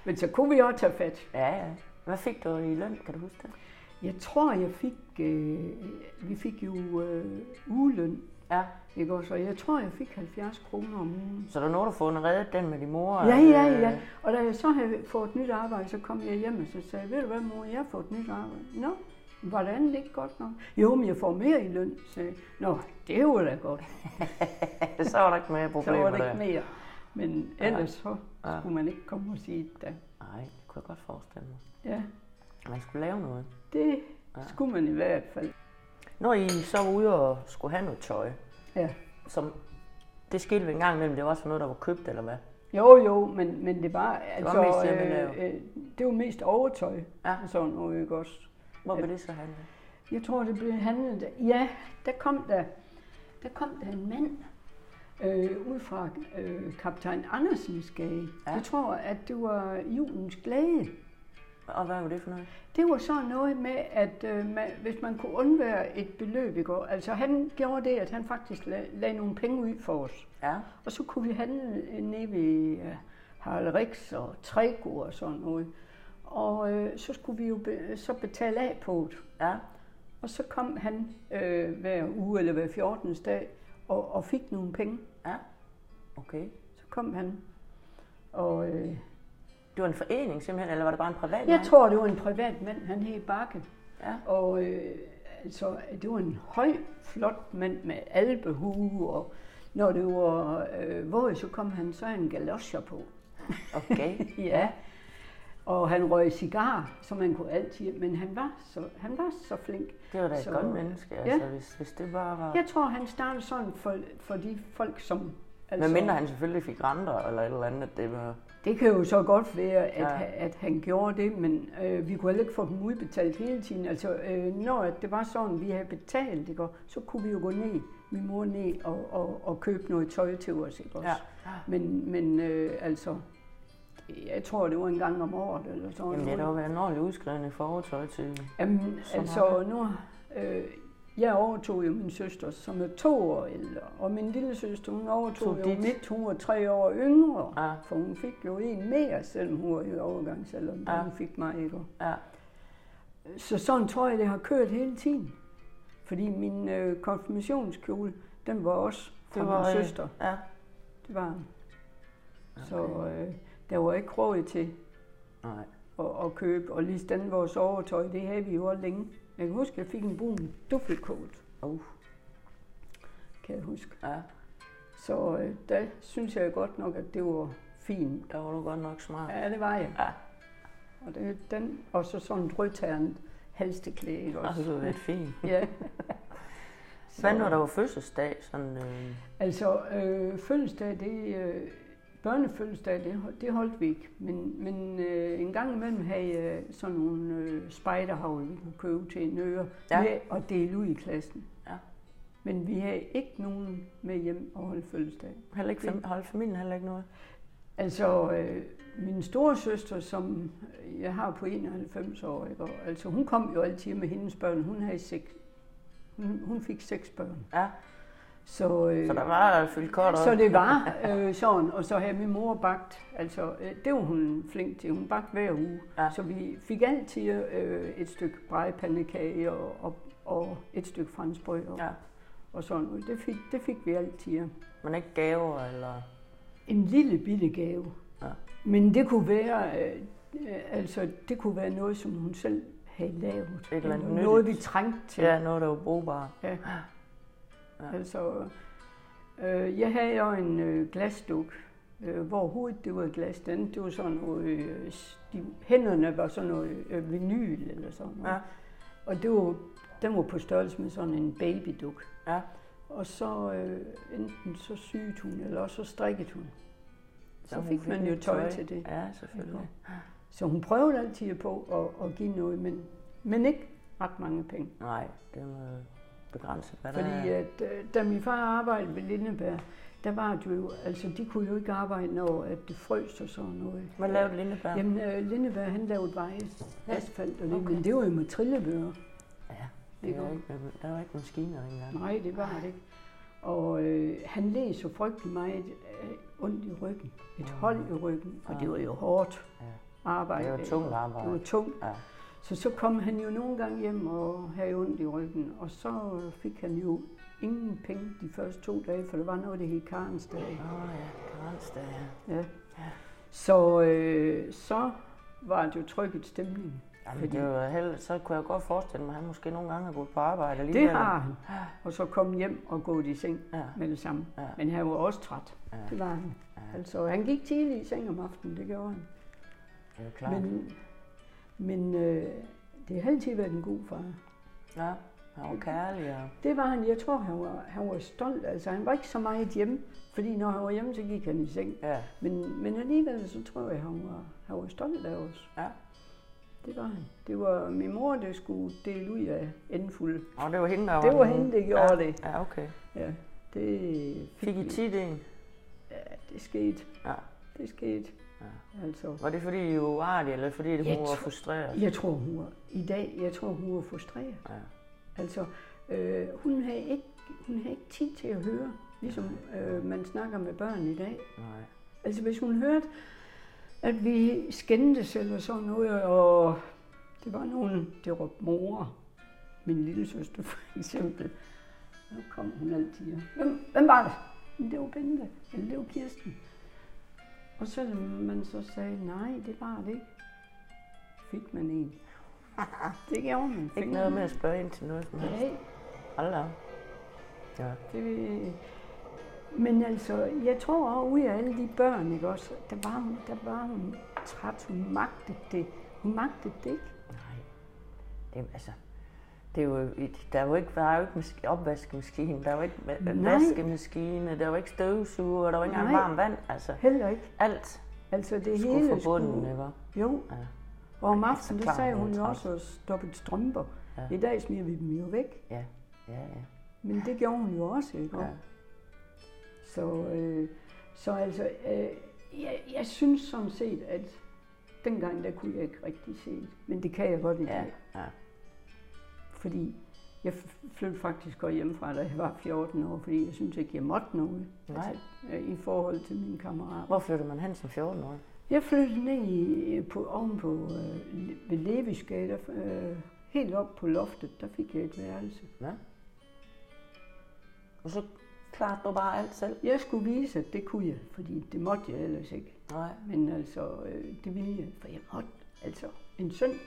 B: Men så kunne vi også tage fat.
A: Ja, ja. Hvad fik du i løn, kan du huske det?
B: Jeg tror, jeg fik, øh, vi fik jo øh, ugeløn.
A: Ja.
B: Ikke også? Og jeg tror, jeg fik 70 kroner om ugen.
A: Så du nåede at få en reddet den med din mor?
B: Ja,
A: og,
B: ja,
A: øh,
B: ja. Og da jeg så havde fået nyt arbejde, så kom jeg hjem og så sagde, jeg, ved du hvad mor, jeg har fået nyt arbejde. Nå, var det andet ikke godt nok? Jo, men jeg får mere i løn, sagde jeg. Nå, det var da godt.
A: Så var der ikke mere
B: Så
A: problemer
B: var
A: der.
B: det ikke mere. Men ellers så
A: Ja.
B: skulle man ikke komme og sige det.
A: Nej, det kunne jeg godt forestille mig.
B: Ja,
A: Man skulle lave noget.
B: det skulle man i hvert fald.
A: Når I så var ude og skulle have noget tøj,
B: Ja.
A: som det skilte en gang imellem, det var også noget, der var købt, eller hvad?
B: Jo, jo, men, men det var altså...
A: mest hjemmelavet.
B: øh, det var mest overtøj
A: Ja.
B: og sådan noget, ikke også?
A: Hvor vil det så handle?
B: Jeg tror, det blev handlet. Ja, der kom der, der, kom der en mand øh, ud fra øh, kaptajn Andersens gade.
A: Ja.
B: Ja. Jeg tror, at det var julens glæde.
A: Og hvad var det for noget?
B: Det var så noget med, at øh, man, hvis man kunne undvære et beløb i går, altså han gjorde det, at han faktisk lag, lagde nogle penge ud for os.
A: Ja.
B: Og så kunne vi handle øh, nede ved øh, Harald Rix og Trego og sådan noget. Og øh, så skulle vi jo be, så betale af på det.
A: Ja.
B: Og så kom han øh, hver uge eller hver 14. dag og, og fik nogle penge.
A: Ja. Okay.
B: Så kom han. Og øh,
A: Det var en forening simpelthen, eller var det bare en privat
B: jeg
A: mand?
B: tror, det var en privat mand, han hed Bakke.
A: Ja.
B: Og øh, altså, det var en høj, flot mand med albehue, og når det var øh, våd, så kom han så en galosjer på.
A: Okay.
B: Ja. Og han røg cigar, som man kunne altid, men han var så, han var så flink.
A: Det var da et
B: Så-
A: godt menneske, altså, hvis, hvis det bare var...
B: Jeg tror, han startede sådan for, for de folk, som... altså-
A: Men mindre han selvfølgelig fik renter eller et eller andet, at det var...
B: Det kan jo så godt være, at,
A: Ja.
B: ja. at han gjorde det, men øh, vi kunne heller ikke få dem udbetalt hele tiden. Altså, øh, når at det var sådan, vi havde betalt, ikke, og så kunne vi jo gå ned, min mor ned, og, og, og købe noget tøj til os. Ikke, også?
A: Ja.
B: Men, men øh, altså, jeg tror, det var en gang om året eller sådan
A: Jamen, det
B: noget.
A: har været en ordentlig udskrivning for overtøj til...
B: Jamen,
A: Så
B: altså nu, øh, jeg overtog jo min søster, som er to år ældre, og min lille søster, hun overtog
A: Tog
B: jo
A: dit.
B: mit, hun var tre år yngre,
A: Ja.
B: for hun fik jo en mere, selvom hun var i overgangsalderen,
A: Ja.
B: ja. hun fik mig ikke.
A: Ja.
B: Så sådan tror jeg, det har kørt hele tiden, fordi min øh, konfirmationskjole, den var også fra
A: Det var,
B: min
A: øh,
B: søster,
A: Ja.
B: det var den. Så øh, der var ikke råd til
A: Nej.
B: at, at købe, og lige stand vores overtøj, det havde vi jo også længe. Jeg kan huske, jeg fik en brun duffelkål,
A: Uh.
B: kan jeg huske.
A: Ja.
B: Så øh, der synes jeg godt nok, at det var fint.
A: Der var du godt nok smart.
B: Ja, det var jeg.
A: Ja.
B: Og, det, den,
A: Altså,
B: og så sådan en rødtærende halsteklæde ikke
A: Og
B: også.
A: det var lidt fint.
B: Ja.
A: (laughs) Hvad når der var fødselsdag? Sådan, øh...
B: Altså, øh, fødselsdag, det, øh, børnefødselsdag, det, hold- det holdt vi ikke. Men, men øh, en gang imellem havde jeg sådan nogle øh, spejderhavl, vi kunne købe til en øre,
A: Ja.
B: ja. med og dele ud i klassen.
A: Ja.
B: Men vi havde ikke nogen med hjem og holde fødselsdag.
A: Heller ikke fam- holde familien heller ikke noget?
B: Altså, øh, min store søster, som jeg har på 91 år, ikke? Og, altså, hun kom jo altid med hendes børn. Hun, havde seks, hun, hun fik seks børn.
A: Ja,
B: Så, øh,
A: så der var fyldt kort op.
B: så det var øh, sådan, og så havde min mor bagt, altså øh, det var hun flink til, hun bagte hver uge.
A: Ja.
B: Ja. Så vi fik altid øh, et stykke brejepandekage og, og, og et stykke franskbrød og, ja.
A: Ja,
B: og sådan noget. Det fik, det fik vi altid.
A: men ikke gaver eller...
B: En lille bitte gave.
A: Ja.
B: Men det kunne være, øh, øh, altså det kunne være noget, som hun selv havde lavet.
A: eller andet
B: noget, vi
A: nyttigt.
B: trængte til.
A: Ja, noget der var brugbart.
B: Ja. Altså, øh, jeg havde jo en øh, glasduk, øh, hvor hovedet det var glas, den det var sådan noget, øh, de, hænderne var sådan noget øh, vinyl eller sådan noget.
A: Ja.
B: Ja. Og det var, den var på størrelse med sådan en babyduk.
A: Ja.
B: Og så øh, enten så syede hun, eller også så strikkede hun. Så
A: hun
B: fik man jo
A: lidt
B: tøj til det.
A: Ja, selvfølgelig.
B: Så hun prøvede altid på at, at give noget, men, men ikke ret mange penge.
A: Nej, det må begrænse, hvad der
B: Fordi
A: er.
B: at, øh, da min far arbejdede ved Lindeberg, der var det jo, altså de kunne jo ikke arbejde, når at det frøs og sådan noget.
A: Hvad lavede Lindebær?
B: Jamen, øh, Lindeberg, han lavede veje,
A: Ja.
B: asfalt og det,
A: Okay.
B: okay. men det var jo med trillebøger.
A: Ja,
B: Det
A: det var
B: går.
A: ikke, der var ikke maskiner engang.
B: Nej, det var det ikke. Og øh, han led så frygtelig meget øh, ondt i ryggen, et hold i ryggen, og det var jo hårdt
A: Ja.
B: arbejde.
A: Det var tungt arbejde.
B: Det var tungt.
A: Ja.
B: Så så kom han jo nogle gange hjem og havde ondt i ryggen, og så øh, fik han jo ingen penge de første to dage, for der var noget, der hed Karens dag.
A: Åh oh, ja, karensdag, ja.
B: Ja. Så, øh, så var det jo trykket stemning.
A: Jamen, det var held... så kunne jeg godt forestille mig, at han måske nogle gange har gået på arbejde alligevel.
B: Det har han. Og så kom hjem og gået i seng
A: Ja.
B: med det samme.
A: Ja.
B: Men han var også træt.
A: Ja.
B: Det var han. Altså, han gik tidligt i seng om aftenen, det gjorde han.
A: Det er jo klart. Men...
B: Men, men øh, det har altid været en god far.
A: Ja, han var kærlig og...
B: Det var han. Jeg tror, han var, han var stolt. Altså, han var ikke så meget hjemme, fordi når han var hjemme, så gik han i seng.
A: Ja,
B: Men, men alligevel, så tror jeg, han var, han var stolt af os.
A: ja.
B: Det var han. Det var min mor, der skulle dele ud af endfulde.
A: Og det var hende, der var...
B: Det var
A: den-
B: hende, der gjorde
A: ja.
B: det.
A: Ja, okay.
B: Ja, det
A: Fik I
B: vi.
A: tit en?
B: Ja, det skete.
A: Ja.
B: Det skete.
A: Ja.
B: Altså,
A: Var det fordi, I var uartige, eller fordi det,
B: Jeg
A: hun var
B: tror-
A: frustreret?
B: jeg tror, hun var, i dag, jeg tror, hun var frustreret.
A: Ja.
B: Altså, øh, hun, havde ikke, hun havde ikke tid til at høre, ligesom øh, man snakker med børn i dag.
A: Nej.
B: Altså, hvis hun hørte, at vi skændtes eller sådan noget, og det var nogen, der råbte mor, min lille søster for eksempel, så kom hun altid. og, Hvem, hvem var det? "Men Det var Bente, eller det var Kirsten. Og selvom man så sagde, nej, det var det ikke, fik man en. (laughs) Det gjorde man. Fik
A: Ikke noget med at spørge ind til noget som helst.
B: Nej,
A: Hold da op. Ja.
B: det... Men altså, jeg tror også, ud af alle de børn, ikke også, der var hun, der var hun træt, hun magtede det. Hun magtede det ikke.
A: Nej. Det, er- altså, det er jo et, der, er jo ikke, der er jo ikke maski, opvaskemaskine, der er jo ikke va-
B: Nej.
A: vaskemaskine, der er jo ikke støvsuger, der er jo ikke engang
B: Nej.
A: varmt vand. Altså,
B: Heller ikke.
A: alt
B: Altså, det
A: skulle
B: hele
A: fra bunden, ikke?
B: Jo,
A: Ja.
B: og om
A: ikke så
B: aftenen, der
A: klar,
B: sagde
A: hun er
B: hun jo
A: træt.
B: også at stoppe strømper.
A: Ja.
B: I dag smider vi dem jo væk,
A: Ja, ja, ja.
B: men det gjorde hun jo også, ikke?
A: Ja.
B: Så, øh, så altså, øh, jeg, jeg synes sådan set, at dengang, der kunne jeg ikke rigtig se det. Men det kan jeg godt i dag.
A: ja, ja.
B: Fordi jeg f- flyttede faktisk godt hjemmefra, da jeg var 14 år, fordi jeg synes ikke, jeg måtte noget
A: Nej.
B: øh, i forhold til mine kammerater.
A: Hvor flytter man hen som 14-årig?
B: Jeg flyttede ned i, på, ovenpå øh, Le- ved Levisgade, øh, helt op på loftet, der fik jeg et værelse.
A: Ja. Og så klarede du bare alt selv?
B: Jeg skulle vise, at det kunne jeg, fordi det måtte jeg ellers ikke.
A: Nej.
B: Men altså, øh, det ville jeg, for jeg måtte. Altså, en søndag,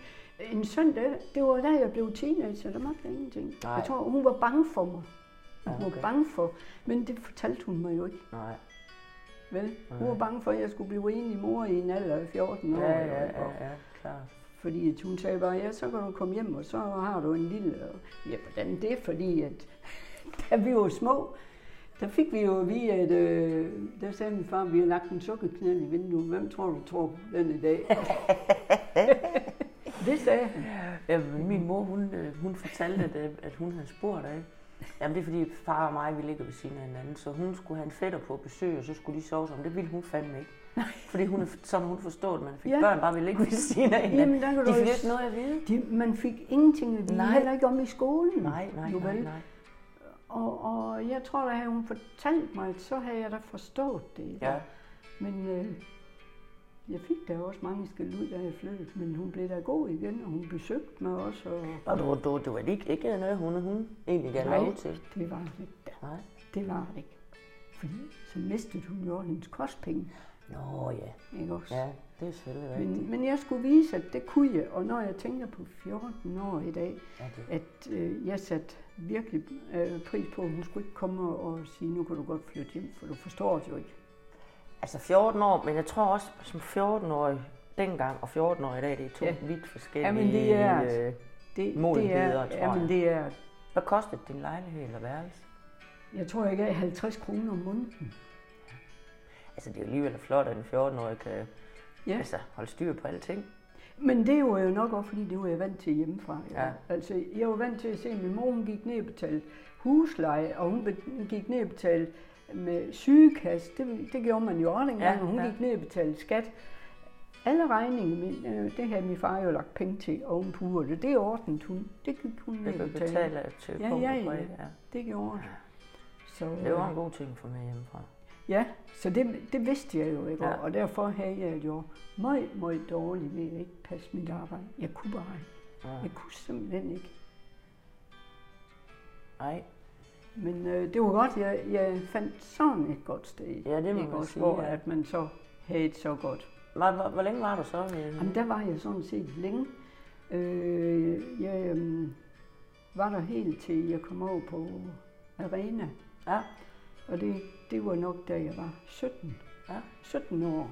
B: en søndag, det var da jeg blev teenager, der måtte jeg ingenting.
A: Nej.
B: Jeg tror, hun var bange for mig. Hun
A: Ja, okay.
B: var bange for, men det fortalte hun mig jo ikke.
A: Nej.
B: Vel? Hun var bange for, at jeg skulle blive enlig mor i en alder af 14 år.
A: Ja, ja,
B: ikke? Og-
A: ja, ja klart.
B: Fordi at hun sagde bare, ja, så kan du komme hjem, og så har du en lille... og- Ja, hvordan det? Fordi at (laughs) da vi var små, der fik vi jo at vide, at øh, der sagde min far, at vi har lagt en sukkerknald i vinduet. Hvem tror du tror på den i (laughs) dag? det sagde han.
A: Ja, men min mor, hun, øh, hun fortalte, at, øh, at hun havde spurgt af. Jamen det er fordi far og mig, vi ligger ved siden af hinanden, så hun skulle have en fætter på besøg, og så skulle de sove sammen. Det ville hun fandme ikke. Fordi hun, er- sådan hun forstod, at man fik
B: Ja.
A: ja. børn bare ved at ligge ved siden af hinanden.
B: Jamen, der
A: de
B: kan du
A: fik
B: jo-
A: ikke noget at vide.
B: De, man fik ingenting at vide,
A: Nej.
B: heller ikke om i skolen.
A: Nej, nej,
B: jo
A: nej,
B: vel.
A: nej.
B: Og, og jeg tror, da havde hun fortalt mig, så havde jeg da forstået det.
A: Ja.
B: Men øh, jeg fik da også mange skal ud, da jeg flyttede, men hun blev da god igen, og hun besøgte mig også. Og,
A: Og du, du, du var ikke, ikke noget, hun, hun egentlig gav lov til.
B: det var det ikke. da.
A: Nej.
B: Det var det ikke. Fordi så mistede hun jo hendes kostpenge,
A: Nå ja,
B: ikke også?
A: ja, det er selvfølgelig rigtigt.
B: Men, men jeg skulle vise, at det kunne jeg, og når jeg tænker på 14 år i dag,
A: Ja, det-
B: at øh, jeg satte virkelig øh, pris på, at hun skulle ikke komme og sige, nu kan du godt flytte hjem, for du forstår det jo ikke.
A: Altså 14 år, men jeg tror også, som 14-årig dengang og 14 år i dag, det er to
B: Ja.
A: ja. vidt forskellige...
B: Jamen, det er-
A: øh,
B: Det, det
A: Modenheder,
B: er,
A: tror
B: ja, men
A: jeg.
B: det er,
A: Hvad kostede din lejlighed eller værelse?
B: jeg tror ikke, at 50 kroner om måneden.
A: Altså, det er jo alligevel flot, at en 14-årig kan
B: Ja.
A: altså, holde styr på alting.
B: Men det var jo nok også, fordi det var jeg vant til hjemmefra. jo.
A: Ja.
B: Altså, jeg var vant til at se, at min mor hun gik ned og betalte husleje, og hun be- gik ned og betalte med sygekasse. Det, det gjorde man jo også dengang,
A: Ja,
B: og hun
A: ja.
B: gik ned og betalte skat. Alle regninger, men, øh, det havde min far jo lagt penge til oven på uret, og det ordnede hun. Det gik hun
A: Det
B: ned og
A: kan
B: betalte.
A: betale til
B: Ja,
A: punkt
B: ja,
A: og
B: ja.
A: prikke, ja.
B: Det gjorde hun. Så,
A: Det var en god ting at få med hjemmefra.
B: Ja, så det, det vidste jeg jo ikke,
A: Ja.
B: ja. og derfor havde jeg det jo meget, meget dårligt ved at ikke passe mit arbejde. Jeg kunne bare ikke.
A: Ja.
B: Jeg kunne simpelthen ikke.
A: Nej,
B: Men øh, det var godt, jeg, jeg fandt sådan et godt sted.
A: Ja, det må
B: ikke
A: man
B: også,
A: sige,
B: Hvor
A: ja.
B: at man så havde det så godt.
A: hvor, hvor, hvor længe var du så? i-
B: Jamen, der var jeg sådan set længe. Øh, jeg øh, var der helt til, jeg kom over på Arena,
A: Ja,
B: og det, det var nok, da jeg var 17.
A: ja,
B: 17 år,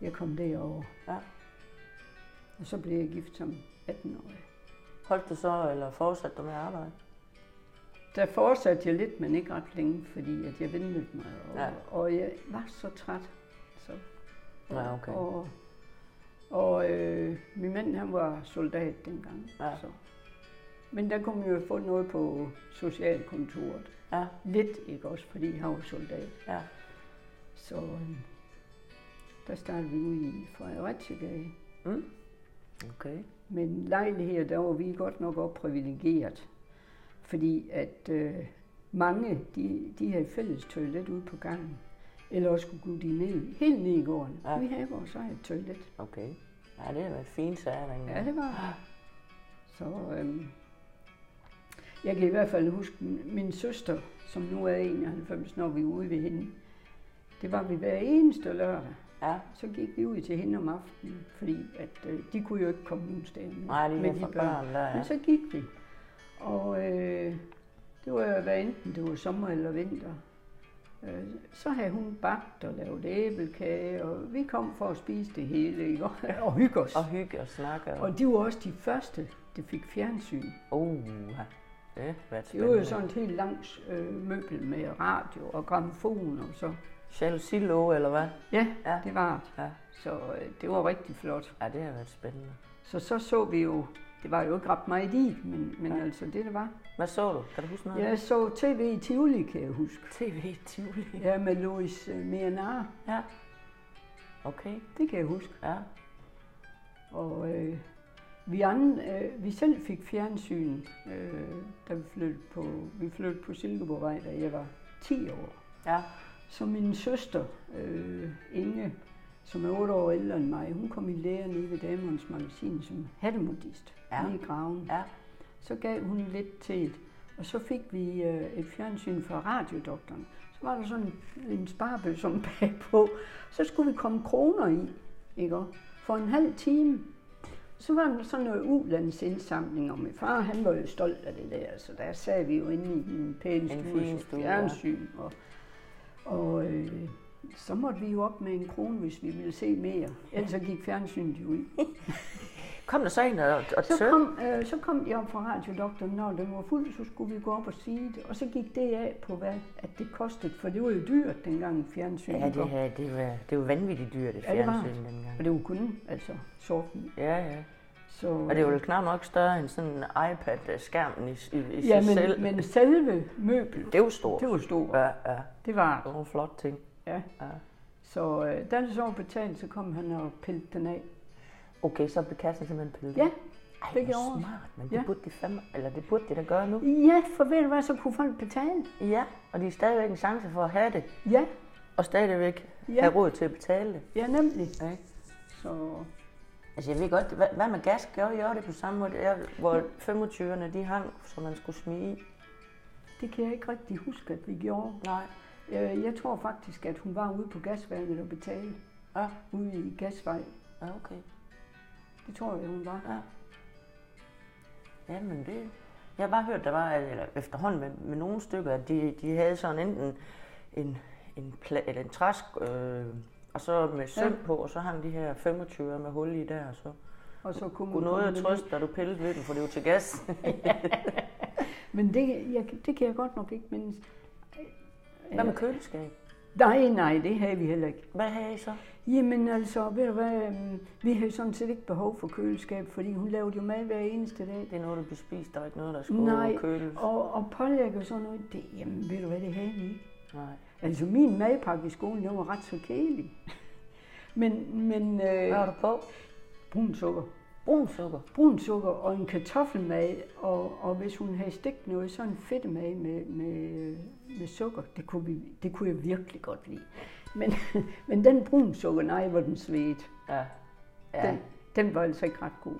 B: jeg kom derover.
A: ja.
B: Og så blev jeg gift som 18-årig.
A: Holdt du så, eller fortsatte du med at arbejde?
B: Der fortsatte jeg lidt, men ikke ret længe, fordi at jeg vendte mig, og,
A: Ja.
B: ja. og jeg var så træt. Så.
A: Ja, okay.
B: Og, og øh, min mand, han var soldat dengang.
A: Ja.
B: Så. Men der kunne man jo få noget på socialkontoret.
A: Ja,
B: Lidt, ikke også, fordi han var soldat.
A: ja.
B: Så øh, der startede vi ude i Fredericia.
A: Mm. Okay.
B: Men lejligheder, der var vi godt nok også privilegeret. Fordi at øh, mange, de, de havde fælles toilet ude på gangen. Eller også skulle gå de ned, helt ned i gården.
A: Ja.
B: Ja. Vi havde vores eget toilet.
A: Okay. Ja, det har været fint sager dengang.
B: Ja, det var det. Så øhm, jeg kan i hvert fald huske min, min søster, som nu er 91, når vi er ude ved hende. Det var vi hver eneste lørdag.
A: Ja.
B: Så gik vi ud til hende om aftenen, fordi at, øh, de kunne jo ikke komme nogen steder med,
A: Nej, de
B: med
A: der fra børn, der
B: Men
A: er.
B: så gik vi. Og øh, det var hvad enten det var sommer eller vinter. Øh, så havde hun bagt og lavet æblekage, og vi kom for at spise det hele, ikke? Og- (laughs) og hygge os.
A: Og hygge og snakke. Og...
B: Og de var også de første, der fik fjernsyn.
A: Uh, ja. det har været
B: Det var
A: spændende.
B: jo sådan et helt langt øh, møbel med radio og gramofon og så.
A: Jalousilå, eller hvad?
B: Ja,
A: Ja.
B: ja. det var det.
A: Ja.
B: Så øh, det var rigtig flot.
A: Ja, det har været spændende.
B: Så så så vi jo, det var jo ikke ret meget i, men, men ja. altså det, det var.
A: Hvad så du? Kan du huske noget?
B: Jeg så tv i Tivoli, kan jeg huske.
A: TV i Tivoli.
B: Ja, med Louis øh, Mianar,
A: Ja. Okay,
B: det kan jeg huske.
A: ja.
B: Og øh, vi, andre, øh, vi selv fik fjernsyn, øh, da vi flyttede på, vi flyttede på Silkeborgvej, da jeg var 10 år.
A: Ja,
B: Så min søster, øh, Inge, som er 8 år ældre end mig, hun kom i lære nede ved Damernes Magasin som hattemodist
A: Ja.
B: ja. nede i graven.
A: ja.
B: Så gav hun lidt til et, og så fik vi øh, et fjernsyn fra radiodoktoren. Så var der sådan en, en sparbøl som (laughs) bagpå. Så skulle vi komme kroner i, ikke? også? For en halv time. Så var der sådan noget ulandsindsamling, og min far han var jo stolt af det der, så der sad vi jo inde i en pæn
A: En
B: stue,
A: fin
B: så
A: stue, ja.
B: fjernsyn. Og, og øh, Så måtte vi jo op med en krone, hvis vi ville se mere. Ellers så gik fjernsynet jo ud.
A: Kom der så en og, og
B: Så
A: tøv?
B: kom, øh, så kom jeg op fra radiodoktoren, når den var fuld, så skulle vi gå op og sige det. Og så gik det af på, hvad at det kostede, for det var jo dyrt dengang fjernsynet
A: Ja, det,
B: var.
A: her, det, var, det var vanvittigt dyrt, det
B: Ja, det var.
A: fjernsyn dengang.
B: Og det var kun altså, sorten.
A: Ja, ja.
B: Så,
A: Og det var jo knap nok større end sådan en iPad-skærmen i, i, i
B: øh, ja,
A: sig
B: men,
A: selv.
B: men selve møblet,
A: Det var stort.
B: det var stort.
A: Ja, ja.
B: Det var
A: Det var en flot ting.
B: Ja.
A: Ja.
B: Så øh, da det så var betalt, så kom han og pillede den af.
A: Okay, så blev kassen simpelthen pillet.
B: Ja,
A: Ej,
B: det
A: det
B: gjorde
A: gjorde
B: jeg.
A: smart, men
B: Ja.
A: det burde de fandme, eller det burde de da gøre nu.
B: ja, for ved du hvad, så kunne folk betale.
A: Ja, og de er stadigvæk en chance for at have det,
B: Ja,
A: og stadigvæk
B: Ja.
A: ja. have råd til at betale det.
B: ja nemlig.
A: Ja, ikke?
B: Så
A: Altså jeg ved godt, hvad, hvad med gas gør jeg det på samme måde, der, hvor 25'erne de hang, som man skulle smide i.
B: det kan jeg ikke rigtig huske, at vi gjorde.
A: Nej.
B: Øh, Jeg tror faktisk, at hun var ude på gasværket og betalte.
A: Ja.
B: Ude i gasvej.
A: Ja, okay.
B: Det tror jeg, hun var.
A: Ja. Jamen det... Jeg har bare hørt, der var, eller efterhånden med, med nogle stykker, at de, de havde sådan enten en, en, pla, eller en træsk, øh, og så med søm
B: Ja.
A: på, og så hang de her 25'er med hul i der, og så
B: Og så kunne hun
A: kunne noget
B: komme
A: at
B: med
A: trøste, da du pillede ved den, for det var til (laughs) gas.
B: ned. Men det, jeg, det kan jeg godt nok ikke mindes.
A: Hvad med køleskab?
B: Nej, nej, det havde vi heller ikke.
A: Hvad havde I så?
B: Jamen altså, ved du hvad, øhm, vi havde sådan set ikke behov for køleskab, fordi hun lavede jo mad hver eneste dag.
A: Det er noget, du blev spist, der var ikke noget, der skulle
B: Nej,
A: køles.
B: og, og pålæg og sådan noget, det, jamen ved du hvad, det havde vi ikke.
A: Nej.
B: Altså min madpakke i skolen, den var ret så kedelig. (laughs) men, men
A: Hvad var
B: øh,
A: du på?
B: brun sukker.
A: Brun sukker.
B: brun sukker og en kartoffelmad, og, og hvis hun havde stegt noget, så en fedtemad med, med, med sukker. Det kunne, vi, det kunne jeg virkelig godt lide. Men, (laughs) men den brun sukker, nej, hvor den svedt.
A: Ja.
B: Ja.
A: ja.
B: Den, den var altså ikke ret god.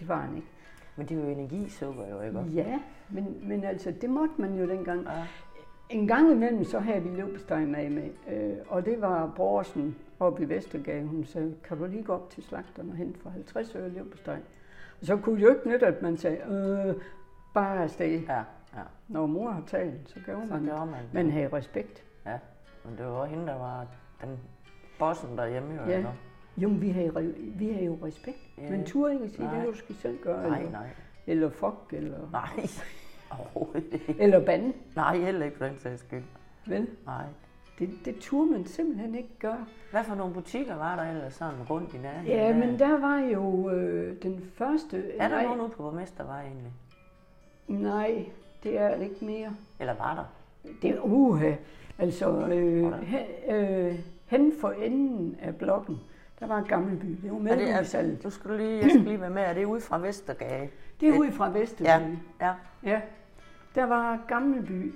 B: Det var den ikke.
A: Men det er jo energisukker, jo ikke?
B: Ja, men, men altså, det måtte man jo dengang.
A: Ja.
B: En gang imellem, så havde vi løbesteg med, med øh, og det var Borgersen oppe i Vestergade. Hun sagde, kan du lige gå op til slagteren og hente for 50 øre løbesteg? Og så kunne det jo ikke nytte, at man sagde, øh, bare afsted.
A: Ja, ja.
B: Når mor har talt, så gjorde
A: Så
B: man det.
A: gjorde man det.
B: Man havde respekt.
A: Ja, men det var også hende, der var den bossen derhjemme, jo
B: Ja.
A: ikke?
B: Jo, men vi havde, re- vi havde jo respekt.
A: Ja.
B: Man turde ikke sige,
A: Nej.
B: det kan du skal selv gøre.
A: Nej,
B: eller,
A: nej,
B: eller fuck, eller,
A: nej. (laughs) Overhovedet ikke.
B: eller bande.
A: Nej, heller ikke for den sags skyld.
B: Vel,
A: Nej.
B: det, det turde man simpelthen ikke gøre.
A: Hvad for nogle butikker var der ellers sådan rundt i nærheden?
B: Ja,
A: af?
B: men der var jo øh, den første...
A: Er der
B: nej,
A: nogen ude på Borgmestervej egentlig?
B: Nej, det er det ikke mere.
A: Eller var der?
B: Det er uha. Altså, øh, he, øh, hen for enden af blokken, der var en gammel by. Det var
A: Er det,
B: medlemsallet.
A: er, du skulle lige, jeg skal lige være med. Er det ude fra Vestergade?
B: Det er ude fra Vesterby.
A: Ja, ja,
B: ja. Der var Gammelby,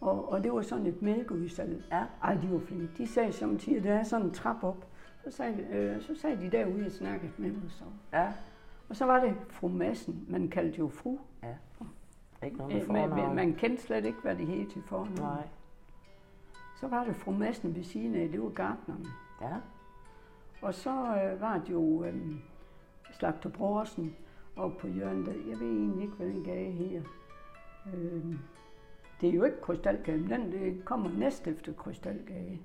B: og, og det var sådan et mælkeudsalg.
A: ja.
B: Ej, de var flinke. De sagde samtidig, der er sådan en trap op. Så sagde, øh, så sagde de derude, jeg snakkede med dem. Så.
A: ja.
B: Og så var det fru Madsen. Man kaldte jo fru.
A: Ikke noget med
B: Øh, Man, man,
A: fornavn.
B: man kendte slet ikke, hvad det hed til fornavn.
A: Nej.
B: Så var det fru Madsen ved siden af, det var gartnerne.
A: Ja.
B: Og så øh, var det jo øh, Slagter Brorsen og på hjørnet. der- Jeg ved egentlig ikke, hvad den gade her. Øh, det er jo ikke Krystalgade, men den det kommer næst efter Krystalgade.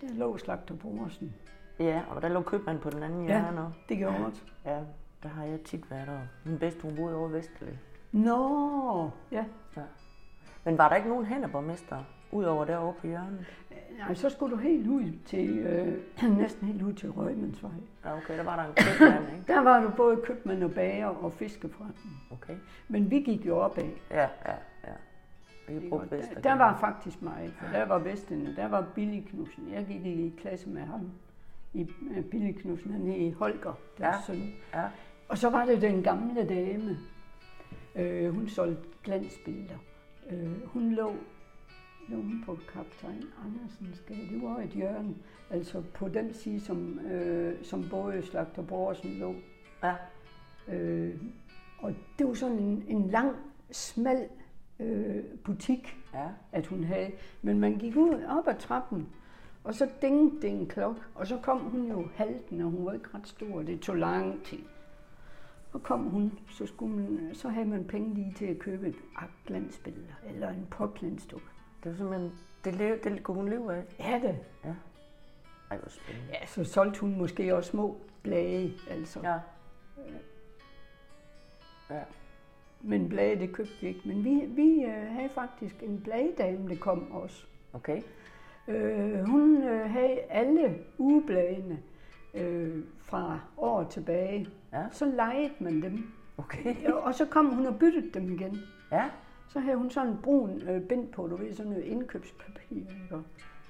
B: Der lå Slagter Brorsen.
A: Ja, og der lå købmanden på den anden
B: Ja.
A: hjørne. også.
B: Det gjorde også.
A: Ja, der har jeg tit været over. Min bedste, hun boede over i Vesterlæ.
B: Nå, ja.
A: Men var der ikke nogen hænder, borgmester, udover derovre på hjørnet?
B: Nej, så skulle du helt ud til, øh, (clears throat) næsten helt ud til Røgmandsvej.
A: Ja, okay, der var der en købmand, ikke?
B: Der var du både købmand og bager og fiskeforretning.
A: Okay.
B: Men vi gik jo opad.
A: Ja, ja, ja. Vi brugte
B: Der,
A: Vestergade.
B: der var faktisk meget, for der var Vestende, der var Billy Knudsen. Jeg gik i klasse med ham, i med Billy Knudsen, han hed Holger, der ja.
A: Ja.
B: søn.
A: Ja.
B: Og så var det den gamle dame, øh, hun solgte glansbilleder. Øh, hun lå, lå hun på kaptajn Andersens gade, det var et hjørne, altså på den side, som, øh, som både Slagter Borgersen lå.
A: Ja,
B: Øh, og det var sådan en, en lang, smal øh, butik,
A: ja.
B: at hun havde. Men man gik ud op ad trappen, og så ding, ding, klok. Og så kom hun jo halten, og hun var ikke ret stor, og det tog lang tid. Og kom hun, så, skulle man, så havde man penge lige til at købe et glansbilleder eller en påklædningsduk.
A: Det var simpelthen, det, leve, det kunne hun leve af.
B: Er det?
A: Ej, hvor spændende.
B: Ja, så solgte hun måske også små blade, altså.
A: Ja. Ja.
B: Men blade, det købte vi ikke. Men vi, vi øh, havde faktisk en bladedame, der kom også.
A: Okay.
B: Øh, hun øh, havde alle ugebladene øh, fra år tilbage.
A: Ja.
B: Så legede man dem.
A: Okay.
B: Og så kom hun og byttede dem igen.
A: Ja.
B: Så havde hun sådan en brun øh, bind på, du ved, sådan noget indkøbspapir. Ikke? Og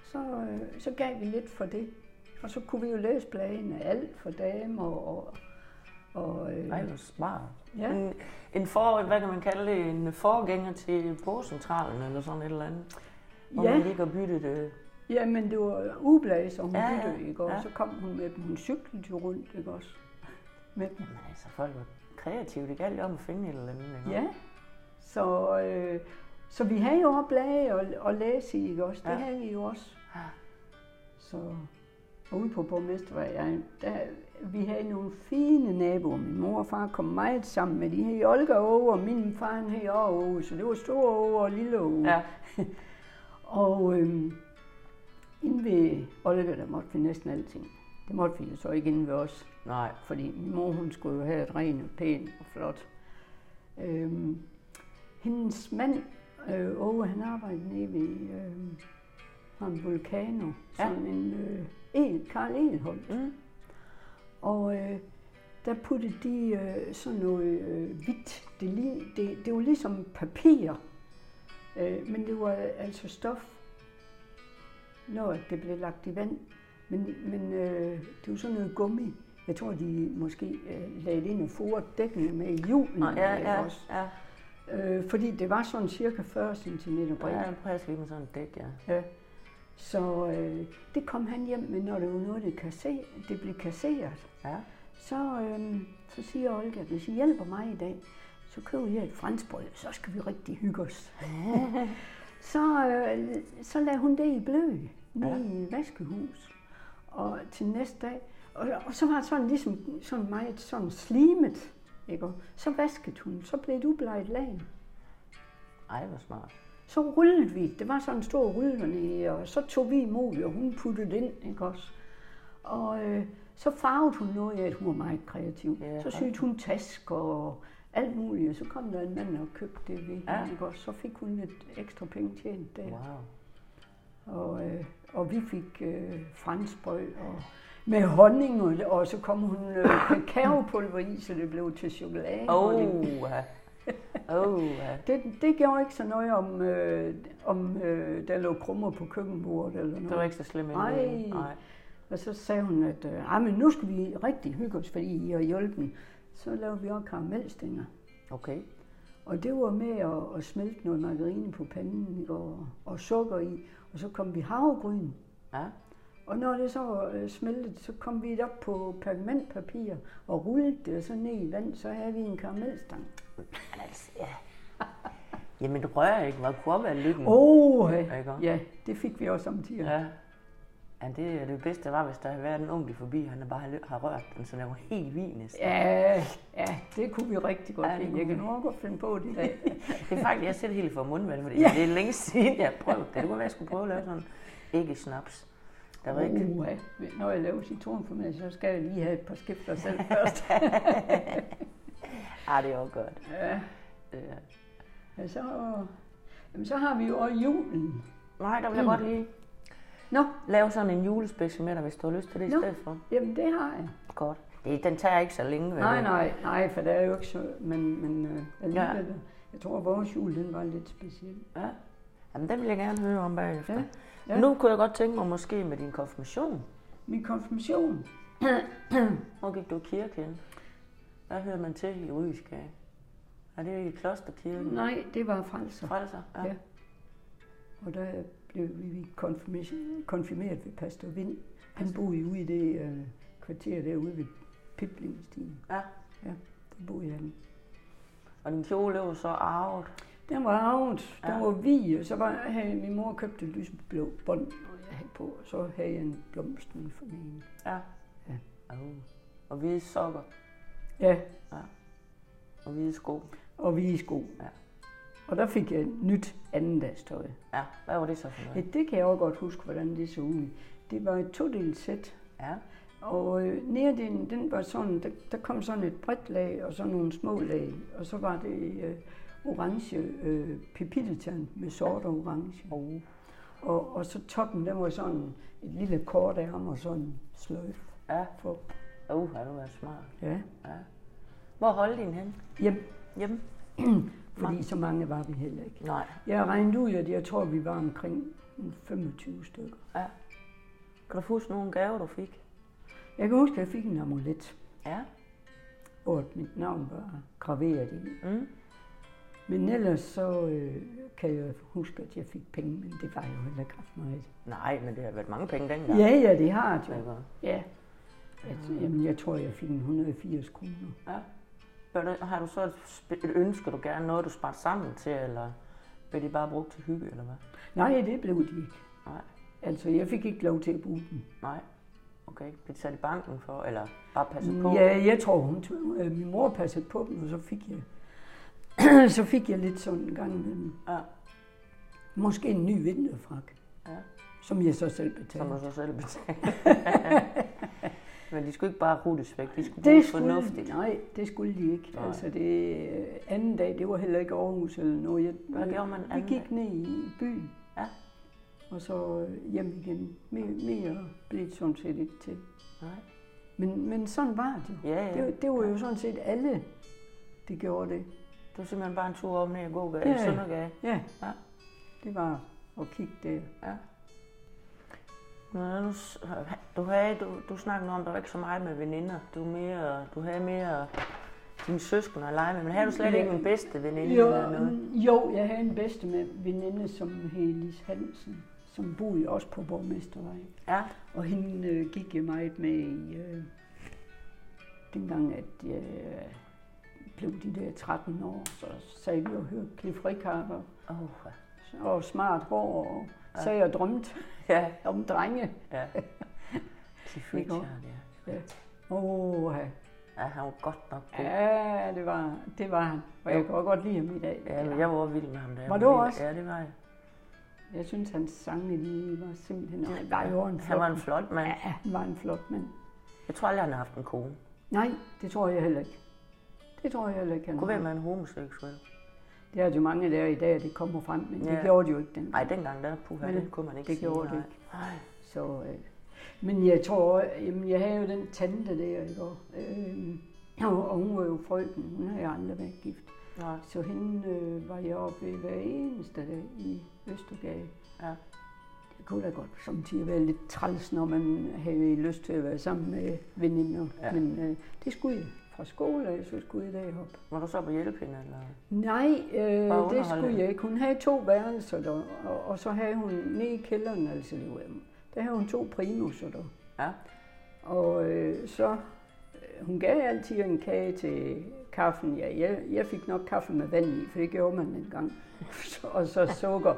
B: Så, øh, så gav vi lidt for det. Og så kunne vi jo læse bladene, alt for damer og... og øh,
A: Ej, hvor smart.
B: Ja.
A: En, en for, hvad kan man kalde det, en forgænger til bogcentralen eller sådan et eller andet. Hvor
B: Ja.
A: man ligger og bytter det.
B: ja, men det var ugeblade, så hun
A: Ja,
B: ja,
A: ja,
B: byttede, ikke? Og
A: ja.
B: så kom hun med dem. Hun cyklede jo rundt, ikke også? Med dem.
A: Men altså, folk var kreative. Det galt jo om at finde et eller andet. Ikke?
B: Ja. Så, øh, så vi havde jo også blade og, og læse i, ikke også? Det
A: Ja.
B: ja. havde vi jo også.
A: Ja.
B: Så og ude på borgmestervej, jeg, der, vi havde nogle fine naboer. Min mor og far kom meget sammen med. De hed Olga Åge, og min far han hed også Åge, så det var Stor Åge og Lille Åge.
A: Ja.
B: Og øhm, inde ved Olga, der måtte vi næsten alting. Det måtte vi jo så ikke inde ved os
A: Nej.
B: fordi min mor hun skulle jo have et rent og pænt og flot. Øhm, hendes mand, øh, Åge, han arbejdede nede ved øh, en vulkano,
A: Ja.
B: sådan en øh, el, Karl Elholt.
A: Mm.
B: Og øh, der puttede de øh, sådan noget øh, hvidt, det, li, det, det var ligesom papir, øh, men det var altså stof, når det blev lagt i vand. Men, men øh, det var sådan noget gummi. Jeg tror, de måske øh, lagde det ind og forrede dækkene med i julen
A: Nå, ja,
B: øh,
A: ja,
B: også.
A: ja.
B: Øh, fordi det var sådan cirka 40 cm bredt.
A: Ja, præcis lige med sådan en dæk, ja.
B: Ja. Så øh, det kom han hjem med, når det var noget, det, kasse, det blev kasseret.
A: Ja.
B: Så, øh, så siger Olga, hvis I hjælper mig i dag, så køber jeg et franskbrød, så skal vi rigtig hygge os. (laughs) så, øh, så lagde hun det i blø, nede i vaskehus. Og til næste dag, og, og så var det sådan ligesom sådan meget sådan slimet, ikke? Og Så vaskede hun, så blev det ubleget lag.
A: Ej, hvor smart.
B: Så rullede vi. Det var sådan en stor rullerne, og så tog vi imod, og hun puttede det ind, ikke også? Og øh, så farvede hun noget af, at hun var meget kreativ.
A: Ja,
B: Ja, så syede hun tasker og alt muligt, og så kom der en mand og købte det ved
A: Ja.
B: ja. ikke også? Så fik hun lidt ekstra penge tjent der.
A: Wow.
B: Og, øh, og vi fik øh, franskbrød og med honning, og, og så kom hun øh, kakaopulver i, så det blev til chokolade. og det
A: Oh, ja. Oh, ja.
B: det, det gjorde ikke så noget om, øh, om øh, der lå krummer på køkkenbordet eller noget.
A: Det var ikke så slemt.
B: Nej.
A: indledning. Nej.
B: Og så sagde hun, at øh, "Ej, men nu skal vi rigtig hygge os, fordi I har hjulpet. den." Så lavede vi også karamelstænger.
A: Okay.
B: Og det var med at, at smelte noget margarine på panden ikke? og, og sukker i. Og så kom vi havregryn.
A: Ja.
B: Og når det så var øh, smeltet, så kom vi op på pergamentpapir og rullede det så ned i vand. Så havde vi en karamelstang.
A: Men altså, ja. Jamen, rør ikke. Hvad kunne også være lykken?
B: Åh,
A: Ikke også?
B: ja, det fik vi også om tider.
A: Ja. Ja, det, er det bedste var, hvis der havde været en onkel forbi, han bare havde lø- har rørt den, så den var helt vin næsten.
B: Ja, ja, det kunne vi rigtig godt
A: Ja,
B: ja,
A: det
B: lide.
A: kunne
B: Jeg kan
A: vi.
B: nok godt finde på det i dag.
A: Det er faktisk, jeg sætter helt for mundvand, fordi ja.
B: Ja.
A: det er længe siden, jeg har prøvet det. Det kunne være, jeg skulle prøve at lave sådan ikke snaps. Der var ikke...
B: Uha, Uh, når jeg laver citronformat, så skal jeg lige have et par skifter selv
A: (laughs)
B: først.
A: Ah, det er Øh, også godt.
B: ja,
A: Det er-
B: ja, så, jamen, så har vi jo også julen.
A: Nej, der vil
B: Mm.
A: jeg godt lige
B: Nå,
A: lave sådan en julespecial med dig, hvis du har lyst til det i
B: Nå.
A: stedet for.
B: jamen det har jeg.
A: Godt. Det, den tager ikke så længe. vel?
B: Nej, nej, nej, for det er jo ikke så, men, men øh, alligevel,
A: Ja.
B: ja. jeg tror, at vores jul, den var lidt speciel.
A: Ja. Jamen, den vil jeg gerne høre om bagefter. Ja.
B: Ja,
A: Ja.
B: ja.
A: Nu kunne jeg godt tænke mig måske med din konfirmation.
B: Min konfirmation,
A: Hvor gik du i kirke hen? Hvad hører man til i Udskage? Er det i klosterkirken?
B: nej, det var frelser.
A: Frelser? Mm. Ja. ja.
B: Ja. Og der blev vi konfirmis- konfirmeret ved Pastor Vind. Han boede ude i det øh, kvarter derude ved Piblingstien.
A: ja.
B: Ja, der boede han.
A: Og din kjole var så arvet.
B: Den var arvet, den
A: Ja.
B: var vi, og så var, havde min mor købt et lysblå bånd, og jeg havde på, og så havde jeg en blomst med for den ene.
A: Ja.
B: Ja.
A: Oh. Og hvide sokker
B: Ja,
A: og hvide sko.
B: og vi i sko.
A: Ja.
B: Og der fik jeg nyt andendagstøj.
A: Ja, hvad var det så for
B: Ja,
A: noget?
B: det kan jeg også godt huske, hvordan det så ud. Det var et todelt sæt,
A: Ja,
B: og øh, nederdelen, den var sådan, der, der kom sådan et bredt lag og så nogle små lag, og så var det øh, orange øh, pipilletand med sort og orange.
A: oh.
B: Og, og så toppen, den var sådan et lille kort ærm og sådan en sløjf
A: ja.
B: for.
A: Uh, har du været smart.
B: Ja.
A: Ja. Hvor holdt din hen?
B: Jamen,
A: Hjemme?
B: fordi så mange var vi heller ikke.
A: Nej.
B: Jeg regnede ud, at jeg tror, vi var omkring en 25 stykker.
A: Ja. Kan du huske nogle gaver, du fik?
B: Jeg kan huske, at jeg fik en amulet,
A: Ja.
B: hvor at mit navn var graveret i.
A: Mm.
B: Men ellers så øh, kan jeg huske, at jeg fik penge, men det var jo heller ikke ret meget.
A: Nej, men det har været mange penge dengang.
B: Ja, ja, det har det jo.
A: Ja.
B: Ja. Jeg, jamen, jeg tror, jeg fik en 180 kroner.
A: ja. Gør du- Har du så et, sp- et ønske, du gerne noget, du sparte sammen til, eller blev det bare brugt til hygge, eller hvad?
B: Nej, det blev det ikke.
A: Nej.
B: Altså, jeg fik ikke lov til at bruge den.
A: Nej. Okay, blev det sat i banken for, eller bare passet på?
B: Ja, jeg tror, hun tog, øh, min mor passede på dem, og så fik jeg, så fik jeg (clears throat) lidt sådan en gang imellem.
A: Ja.
B: Måske en ny vinterfrak,
A: Ja.
B: som jeg så selv
A: Som
B: betalte.
A: du så selv
B: (laughs)
A: betalte. Men de skulle ikke bare rutes væk, de skulle
B: Det
A: bruges
B: skulle,
A: fornuftigt.
B: nej, det skulle de ikke. Nej. Altså det øh, anden dag, det var heller ikke Aarhus eller noget. Jeg,
A: Hvad gjorde man
B: Vi
A: anden
B: Mm. gik ned i byen.
A: Ja.
B: Og så øh, hjem igen. Mere, mere blev det sådan set ikke til.
A: Nej.
B: Men, men sådan var det jo.
A: Ja, ja.
B: Det, det var jo sådan set alle, det gjorde det.
A: Det var simpelthen bare en tur om ned og gå
B: Ja,
A: ja.
B: ja.
A: Søndergade.
B: Ja,
A: Ja.
B: det var at kigge der.
A: Ja. Nå, nu, s- du, havde, du, du snakkede om, at der var ikke så meget med veninder. Du, mere, du havde mere dine søskende at lege med, men havde du slet
B: Ja.
A: ikke en bedste veninde
B: Jo, mm,
A: eller noget?
B: jo, jeg havde en bedste med veninde, som hed Lis Hansen, som boede også på Borgmestervej.
A: Ja,
B: Og hende øh, gik jeg meget med i, øh, dengang, at jeg øh, blev de der 13 år, så sagde vi og hørte Cliff Rickard og,
A: oh,
B: og smart hår, og sagde jeg drømte
A: ja,
B: om drenge.
A: ja.
B: (laughs)
A: Cliff
B: Ikke
A: Richard, ja.
B: Ja. Åh, ja.
A: ja. han var godt nok god.
B: ja, det var, det var han. Og jeg kan også godt lide ham i dag.
A: Ja, men jeg var også vild med ham der.
B: Var du også?
A: Ja, det var jeg.
B: Jeg synes, hans sange lige var simpelthen... Han var jo
A: Han
B: en flot
A: var en flot mand.
B: Ja, han var en flot mand.
A: Jeg tror aldrig, han har haft en kone.
B: Nej, det tror jeg heller ikke. Det tror jeg heller ikke, han
A: Det kunne være,
B: har.
A: med en homoseksuel.
B: Det er jo mange der i dag, at det kommer frem, men det
A: Ja.
B: gjorde de jo ikke den.
A: Nej, dengang der, puha,
B: Men
A: det kunne man ikke
B: det
A: sige.
B: gjorde det
A: nej.
B: ikke.
A: Ej,
B: Så, øh, men jeg tror, øh, jamen, jeg havde jo den tante der, ikke? Og, øh, og og hun var jo frøken, hun har jeg aldrig været gift.
A: nej,
B: Så hende øh, var jeg oppe ved hver eneste dag i Østergade.
A: ja.
B: Det kunne da godt samtidig være lidt træls, når man havde lyst til at være sammen med veninder.
A: Ja.
B: Ja. Men øh, det skulle jeg. Fra skole af, så skulle jeg derop.
A: Var du så på hjælpinde, eller?
B: Nej, øh,
A: underholde
B: det skulle
A: hende.
B: jeg ikke. Hun havde to værelser der, og, og så havde hun nede i kælderen, altså det var, der havde hun to primusser der.
A: Ja,
B: Og øh, så, øh, hun gav altid en kage til kaffen. Ja, jeg, jeg fik nok kaffe med vand i, for det gjorde man engang. og (laughs) så sukker.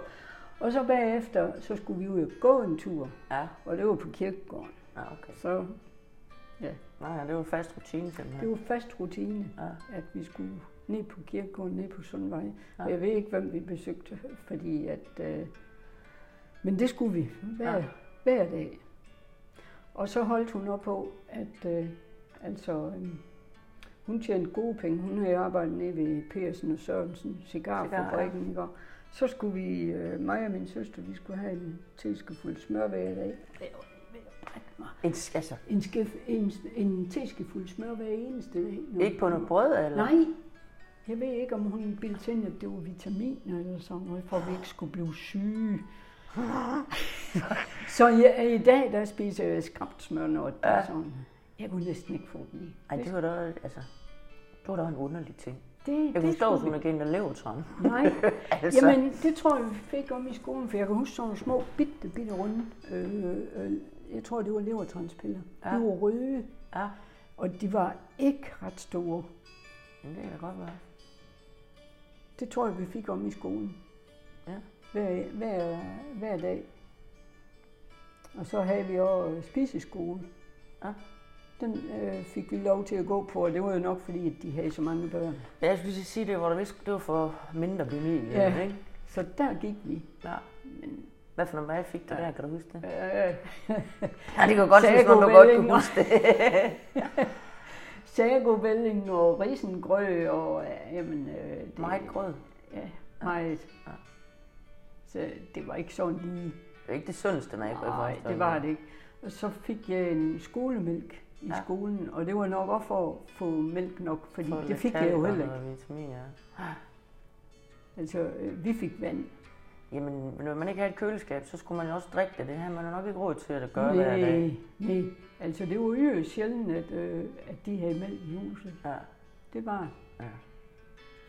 B: Og så bagefter, så skulle vi jo gå en tur,
A: ja.
B: og det var på kirkegården.
A: Ja, okay.
B: Så ja,
A: Nej, det var en fast rutine simpelthen.
B: det var fast rutine,
A: Ja.
B: at vi skulle ned på kirkegården, ned på Sundvej. Og jeg ved ikke, hvem vi besøgte, fordi at... Øh, men det skulle vi hver,
A: Ja.
B: hver dag. Og så holdt hun op på, at øh, altså, øh, hun tjente gode penge. Hun havde arbejdet nede ved Persen og Sørensen, cigarfabrikken. Cigar, ja. Så skulle vi, øh, mig og min søster, vi skulle have en teskefuld smør hver dag. Det var ved at brække mig.
A: En, s- altså,
B: En, skef, en, en teskefuld smør hver eneste dag. Nå.
A: ikke på noget brød, eller?
B: Nej. Jeg ved ikke, om hun bildte sig ind, at det var vitaminer eller sådan noget, for at vi ikke skulle blive
A: (laughs)
B: syge. så jeg, i dag, der spiser jeg skrabt smør, når det er sådan. Jeg kunne næsten ikke få den i.
A: Ej, det var da, altså, det var da en underlig ting.
B: Det,
A: Jeg kunne forstå,
B: skulle
A: at hun havde givet en levertræn.
B: vi- Nej,
A: (laughs) altså,
B: Jamen, det tror jeg, vi fik om i skolen, for jeg kan huske sådan nogle små, bitte, bitte runde, øh, øh, jeg tror, det var levertranspiller. Ja. De var røde,
A: ja,
B: og de var ikke ret store.
A: men det kan da godt være.
B: Det tror jeg, vi fik om i skolen.
A: Ja.
B: Hver, hver, hver dag. Og så havde vi også øh, spiseskole.
A: Ja.
B: Den øh, fik vi lov til at gå på, og det var jo nok fordi, at de havde så mange børn.
A: Ja, jeg skulle lige sige, det var, der vist, det var for mindre bemidlet,
B: Ja.
A: ja. ikke?
B: Så der gik vi.
A: Ja.
B: Men,
A: Hvad for noget mad fik du
B: Ja.
A: der, kan du huske det?
B: øh,
A: Ja, det kan godt
B: Sagde
A: synes, man, du
B: god
A: godt
B: melding.
A: kunne huske det.
B: (laughs) Sagovælling og risengrød og øh, jamen, øh, det,
A: Meget grød.
B: Ja, meget.
A: Ja.
B: Så det var ikke sådan lige.
A: Det er ikke det sundeste mad, jeg kunne
B: Nej, det var det ikke. Og så fik jeg en skolemælk i
A: Ja.
B: skolen, og det var nok også for at få mælk nok, fordi for det fik jeg jo heller ikke.
A: Vitamin, ja.
B: Altså, øh, vi fik vand.
A: Jamen, når man ikke havde et køleskab, så skulle man jo også drikke det. Det havde man jo nok ikke råd til at gøre hver dag.
B: Nej, nej. Altså, det var jo sjældent, at, øh, at de havde mælk i huset.
A: Ja.
B: Det var det.
A: Ja.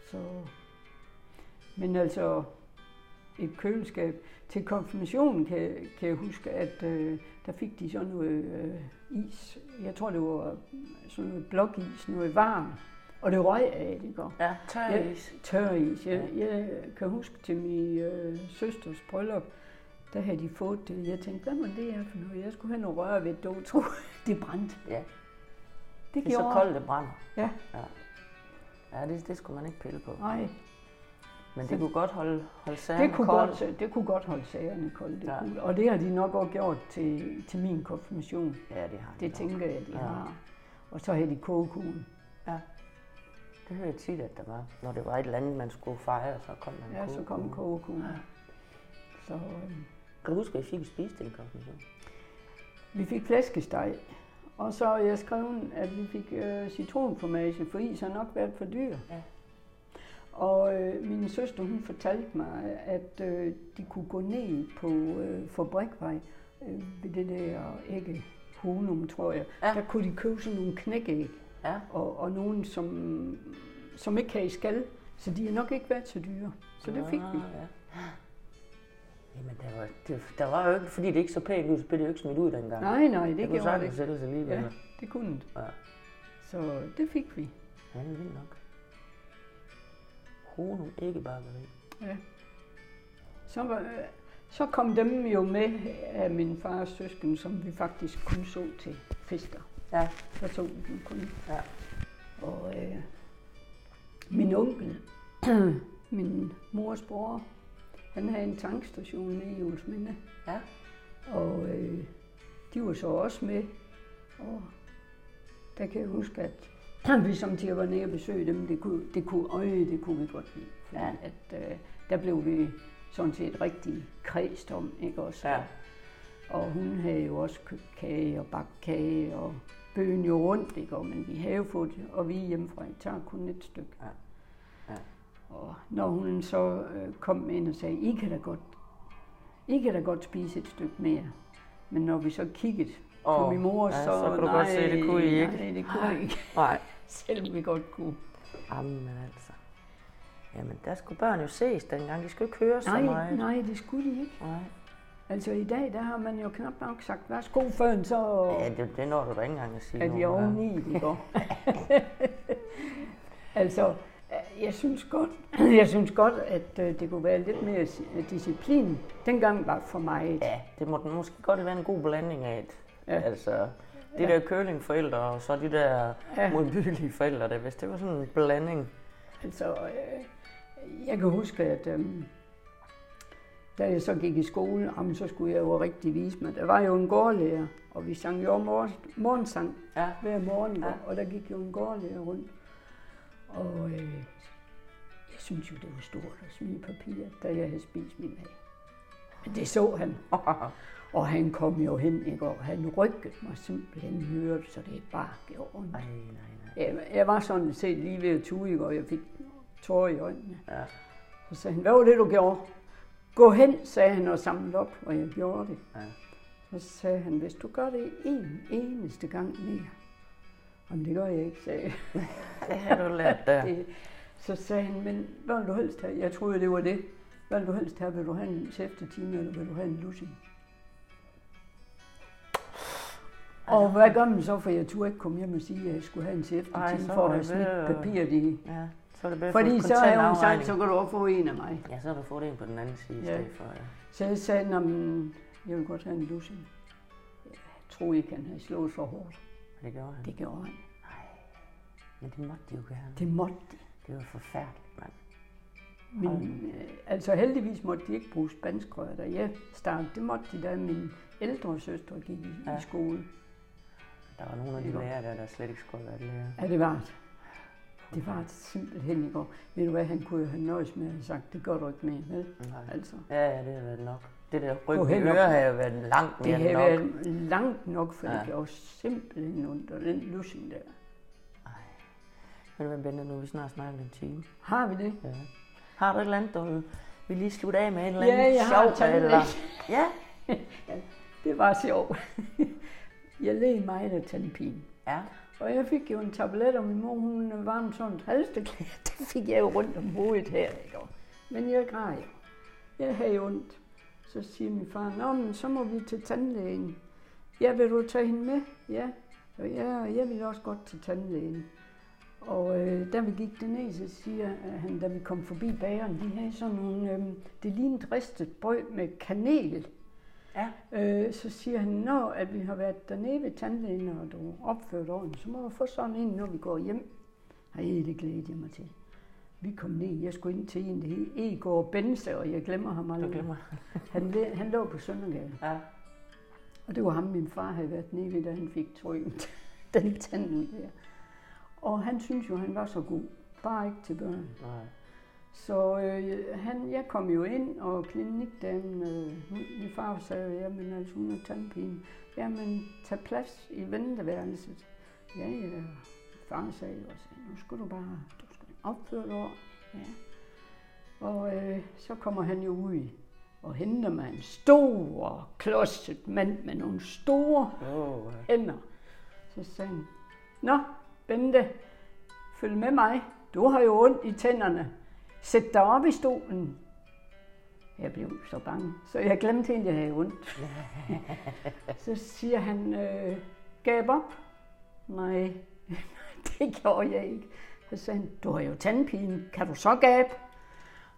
B: Så... Men altså, et køleskab. Til konfirmationen kan, jeg- kan jeg huske, at øh, der fik de sådan noget øh, is. Jeg tror, det var sådan noget blokis, noget varmt. Og det røg af, det går.
A: Ja, tør
B: Ja.
A: is.
B: Tør is. Jeg, jeg kan huske til min øh, søsters bryllup, der havde de fået det. Jeg tænkte, hvad må det her for noget? Jeg skulle have noget rør ved et dog, tro. (laughs) Det brændte.
A: Ja,
B: Det
A: det er så
B: gjorde.
A: koldt, det brænder.
B: Ja.
A: Ja, ja det, det skulle man ikke pille på.
B: Nej,
A: Men det kunne godt holde, holde sagerne
B: Det kunne,
A: kolde.
B: godt, det kunne godt holde sagerne kolde. Det
A: Ja.
B: ja. kunne, og det har de nok også gjort til, til min konfirmation.
A: Ja, det har de
B: Det
A: nok.
B: tænker jeg, de
A: Ja.
B: ja. har. Og så havde de kogekuglen.
A: Ja. Det hører jeg tit, at der var. Når det var et eller andet, man skulle fejre, så kom man
B: Ja, så kom kogekuglen. Ja. Så øh,
A: Kan du huske, at I fik at spise den konfirmation?
B: vi fik flæskesteg. Og så har jeg skrevet, at vi fik øh, citronformage, for is har nok været for dyr.
A: Ja.
B: Og øh, min søster, hun fortalte mig, at øh, de kunne gå ned på øh, Fabrikvej øh, ved det der ægge honum, tror jeg.
A: Ja.
B: Ja. Der kunne de købe sådan nogle knækæg.
A: Ja.
B: og, og nogen, som, som ikke kan i skal. Så de har nok ikke været så dyre. Så det fik vi.
A: Ah, Ja. Jamen, der var, det, der var jo ikke, fordi det ikke så pænt ud, så blev det jo ikke smidt ud dengang.
B: Nej, nej,
A: det
B: det, det
A: kunne
B: gjorde det
A: sagtens
B: ikke.
A: sættes alligevel.
B: Ja, det kunne det.
A: Ja.
B: Så det fik vi.
A: ja, det er vildt nok. Honum ikke bakkeri.
B: Så, var, øh, så kom dem jo med af min fars søsken, som vi faktisk kun så til fester.
A: Ja.
B: Der så vi dem kun.
A: Ja.
B: Og øh, min onkel, (clears throat) min mors bror, han havde en tankstation nede i Olsminde.
A: Ja.
B: Og øh, de var så også med. Og der kan jeg huske, at (clears throat) vi samtidig var nede og besøge dem. Det kunne, det kunne, øj, det kunne vi godt lide. Fordi
A: Ja.
B: ja. at, øh, der blev vi sådan set rigtig kredst om, ikke også?
A: Ja.
B: Og hun havde jo også købt kage og bagt kage og bøgen jo rundt, ikke? Og, men vi havde jo fået, og vi hjemmefra tager kun et stykke.
A: Ja. Ja.
B: Og når hun så øh, kom ind og sagde, I kan da godt, I kan da godt spise et stykke mere. Men når vi så kiggede på
A: Åh,
B: min mor,
A: ja,
B: så,
A: så kunne du godt se, det kunne I ikke.
B: Nej, det kunne I ikke, (laughs)
A: Nej.
B: selvom vi godt kunne.
A: Jamen altså. Jamen, der skulle børn jo ses dengang. De skulle ikke høre så
B: Nej,
A: meget.
B: nej, det skulle de ikke.
A: Nej.
B: Altså i dag, der har man jo knap nok sagt, værsgo før en så
A: Ja, det, det når du da ikke engang at sige
B: er
A: nu,
B: de oveni, det går. (laughs) altså, jeg synes godt, (clears throat) jeg synes godt, at øh, det kunne være lidt mere si- disciplin. Dengang var for mig,
A: Ja, det må den måske godt være en god blanding af et. Ja.
B: Ja.
A: Altså, de der curlingforældre og så de der ja.
B: Ja.
A: modbydelige forældre, det, hvis det var sådan en blanding. (laughs)
B: Altså, øh, jeg kan huske, at øh, da jeg så gik i skole, jamen, så skulle jeg jo rigtig vise mig. Der var jo en gårdlærer, og vi sang jo mor- morgensang
A: Ja.
B: hver morgen,
A: Ja.
B: ja. og der gik jo en gårdlærer rundt. Og øh, jeg synes jo, det var stort at smide papir, da jeg havde spist min mad. Men det så han. Og han kom jo hen, ikke? og han rykkede mig simpelthen i øret, så det bare gjorde ondt.
A: Ej, nej, nej.
B: Jeg, jeg var sådan set lige ved at tude, ikke? og jeg fik tårer i øjnene.
A: Ja.
B: Så sagde han, hvad var det, du gjorde? Gå hen, sagde han og samlede op, og jeg gjorde det.
A: Ja.
B: Så sagde han, hvis du gør det en eneste gang mere. Jamen, det gør jeg ikke, sagde jeg.
A: Det har du lært der.
B: (laughs) Det- Så sagde han, men hvad vil du helst have? Jeg troede, det var det. Hvad vil du helst have? Vil du have en sæftetime, eller vil du have en lussing? Og hvad gør man så, for jeg turde ikke komme hjem og sige, at jeg skulle have en
A: Altså- Ej,
B: sæftetime
A: så
B: for
A: var
B: at have
A: det
B: smidt
A: ved at-
B: papiret i.
A: Ja, så er det bedre
B: Fordi så
A: havde
B: havde hun sagt, så kan du også få en af mig.
A: Ja, så har du fået en på den anden side ja.
B: Ja.
A: i stedet for. Ja.
B: Så jeg sagde, "Nå, men jeg vil godt have en lussing. Jeg tror, I kan have slået for hårdt.
A: Og det gjorde han.
B: Det gjorde han.
A: Men det måtte de jo gerne.
B: Det måtte de.
A: Det var forfærdeligt, mand.
B: Min, øh, altså heldigvis måtte de ikke bruge spanskrør, da jeg startede. Det måtte de, da min ældre søster gik i, ja.
A: Ja.
B: i skole.
A: Der var nogle af de
B: Det var-
A: lærere, der, der slet ikke skulle have været lærer.
B: Ja, det var det. Det var det simpelthen i går. Ved du hvad, han kunne jo have nøjes med at have sagt, det gør du ikke mere, vel?
A: Nej.
B: Altså,
A: Ja, ja, det havde været nok. Det der ryg
B: Gå
A: i
B: hen op.
A: ører havde jo været langt mere
B: det havde
A: end nok.
B: været langt nok, for ja.
A: Ja.
B: det gjorde simpelthen ondt, og den lussing der.
A: Ved du hvad, Bente, nu er vi snart snakket en time.
B: Har vi det?
A: Ja. Har du et eller andet, du vil lige slutte af med en eller
B: Ja,
A: anden
B: jeg har
A: sjov?
B: tandlæge.
A: eller... Ja,
B: Det var sjovt. (laughs) jeg led meget af tandpine.
A: ja.
B: Og jeg fik jo en tablet, og min mor hun varmede sådan et halsteklæde. (laughs) Det fik jeg jo rundt om hovedet her. Ikke? Og- Men jeg græd jo. Jeg havde jo ondt. Så siger min far, Nå, men så må vi til tandlægen. Ja, vil du tage hende med? Ja. Og ja, og jeg ville også godt til tandlægen. Og øh, da vi gik derned, så siger han, da vi kom forbi bageren, de havde sådan nogle, øh, det lignede ristet brød med kanel.
A: Ja.
B: Øh, så siger han, når at vi har været dernede ved tandlægen, og du er opført ordentligt, så må du få sådan en, når vi går hjem. Hej, det glæder jeg mig til. Vi kom ned, jeg skulle ind til en, der hed Egor Bense, og jeg glemmer ham
A: Du
B: aldrig.
A: glemmer.
B: Han, led- han lå på Søndergade,
A: Ja.
B: og det var ham, min far havde været nede ved, da han fik trømt (laughs) den tand ud der. Og han synes jo, han var så god, bare ikke til børn.
A: Nej.
B: Så øh, han, jeg kom jo ind, og klinikdamen, øh, hun, min far sagde, jamen altså, hun har tandpine. Jamen, tag plads i venteværelset. Ja, ja, far sagde jo også, nu skal du bare, du skal opføre dig over." Ja. Og øh, så kommer han jo ud og henter mig en stor, klodset mand med nogle store
A: Oh,
B: hænder. Så sagde han, Nå, Bente, følg med mig. Du har jo ondt i tænderne. Sæt dig op i stolen. Jeg blev så bange, så jeg glemte egentlig, at jeg havde ondt. så siger han, øh, gab op. Nej, (laughs) det gjorde jeg ikke. Så sagde han, du har jo tandpine. Kan du så gabe?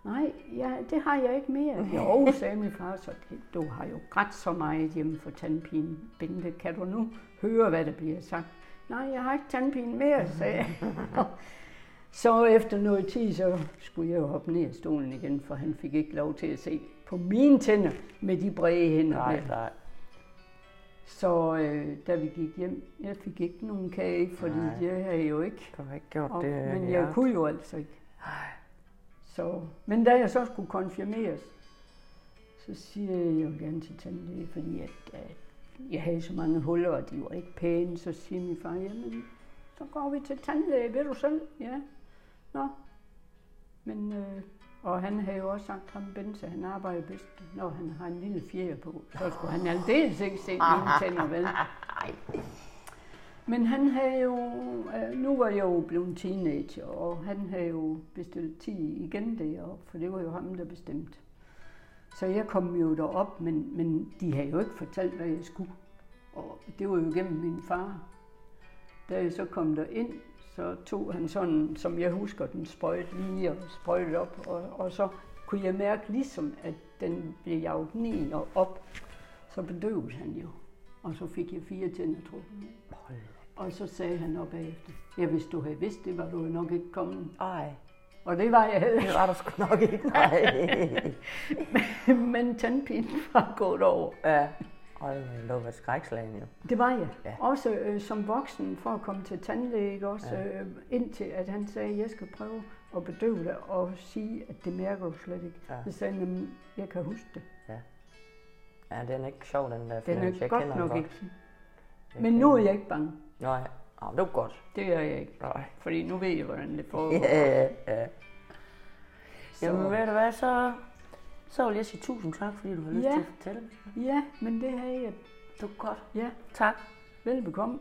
B: Nej, ja, det har jeg ikke mere. Jo, sagde min far, så det, du har jo grædt så meget hjemme for tandpine. Bente, kan du nu høre, hvad der bliver sagt? Nej, jeg har ikke tandpine mere, sagde jeg. så efter noget tid, så skulle jeg jo hoppe ned af stolen igen, for han fik ikke lov til at se på mine tænder med de brede hænder.
A: nej,
B: der.
A: nej.
B: Så øh, da vi gik hjem, jeg fik ikke nogen kage, fordi
A: Nej.
B: jeg havde jo ikke
A: Du har ikke gjort
B: og,
A: det.
B: men
A: ja.
B: jeg kunne jo altså ikke. Så, men da jeg så skulle konfirmeres, så siger jeg, at jeg vil gerne til tandlæge, fordi at, at jeg havde så mange huller, og de var ikke pæne. Så siger min far, jamen, så går vi til tandlæge, ved du selv? Ja. Nå. Men, øh, og han havde jo også sagt, ham Bense, han arbejder bedst, når han har en lille fjer på. Så skulle han aldeles ikke se mine tænder, vel? Men han havde jo, øh, nu var jeg jo blevet teenager, og han havde jo bestilt 10 igen deroppe, for det var jo ham, der bestemte. Så jeg kom jo derop, men, men de havde jo ikke fortalt, hvad jeg skulle. Og det var jo gennem min far. Da jeg så kom ind, så tog han sådan, som jeg husker, den sprøjt lige og sprøjt op, og, og så kunne jeg mærke ligesom, at den blev jaget ned og op. Så bedøvede han jo, og så fik jeg fire tænder trukket ned.
A: Hold da.
B: Og så sagde han op bagefter, ja, hvis du havde vidst det, var du jo nok ikke kommet.
A: Ej,
B: Og det var jeg (laughs) heller
A: det var der sgu nok ikke. Nej.
B: ikke, men tandpinen var gået over.
A: ja. Hold da, det var et skrækslagen jo.
B: Det var jeg.
A: Ja.
B: Ja. Også øh, som voksen, for at komme til tandlæge, ikke? også ja. øh, indtil at han sagde, jeg skal prøve at bedøve dig og sige, at det mærker du slet ikke.
A: Ja.
B: Ja. Så sagde han, "Jamen, jeg kan huske det.
A: Ja, den er ikke sjov, den der
B: Den
A: film.
B: er
A: altså, jeg
B: godt
A: kender den
B: nok
A: godt.
B: ikke. Men nu er jeg ikke bange.
A: Nej, Nå, det var godt.
B: Det er jeg ikke.
A: Nej.
B: Fordi nu ved jeg, hvordan det foregår.
A: Ja, ja, ja.
B: Så-
A: Jamen ved du hvad, så, så vil jeg sige tusind tak, fordi du har lyst
B: Ja.
A: til at fortælle.
B: ja, men det har jeg.
A: Det var godt.
B: Ja,
A: Tak.
B: velbekomme.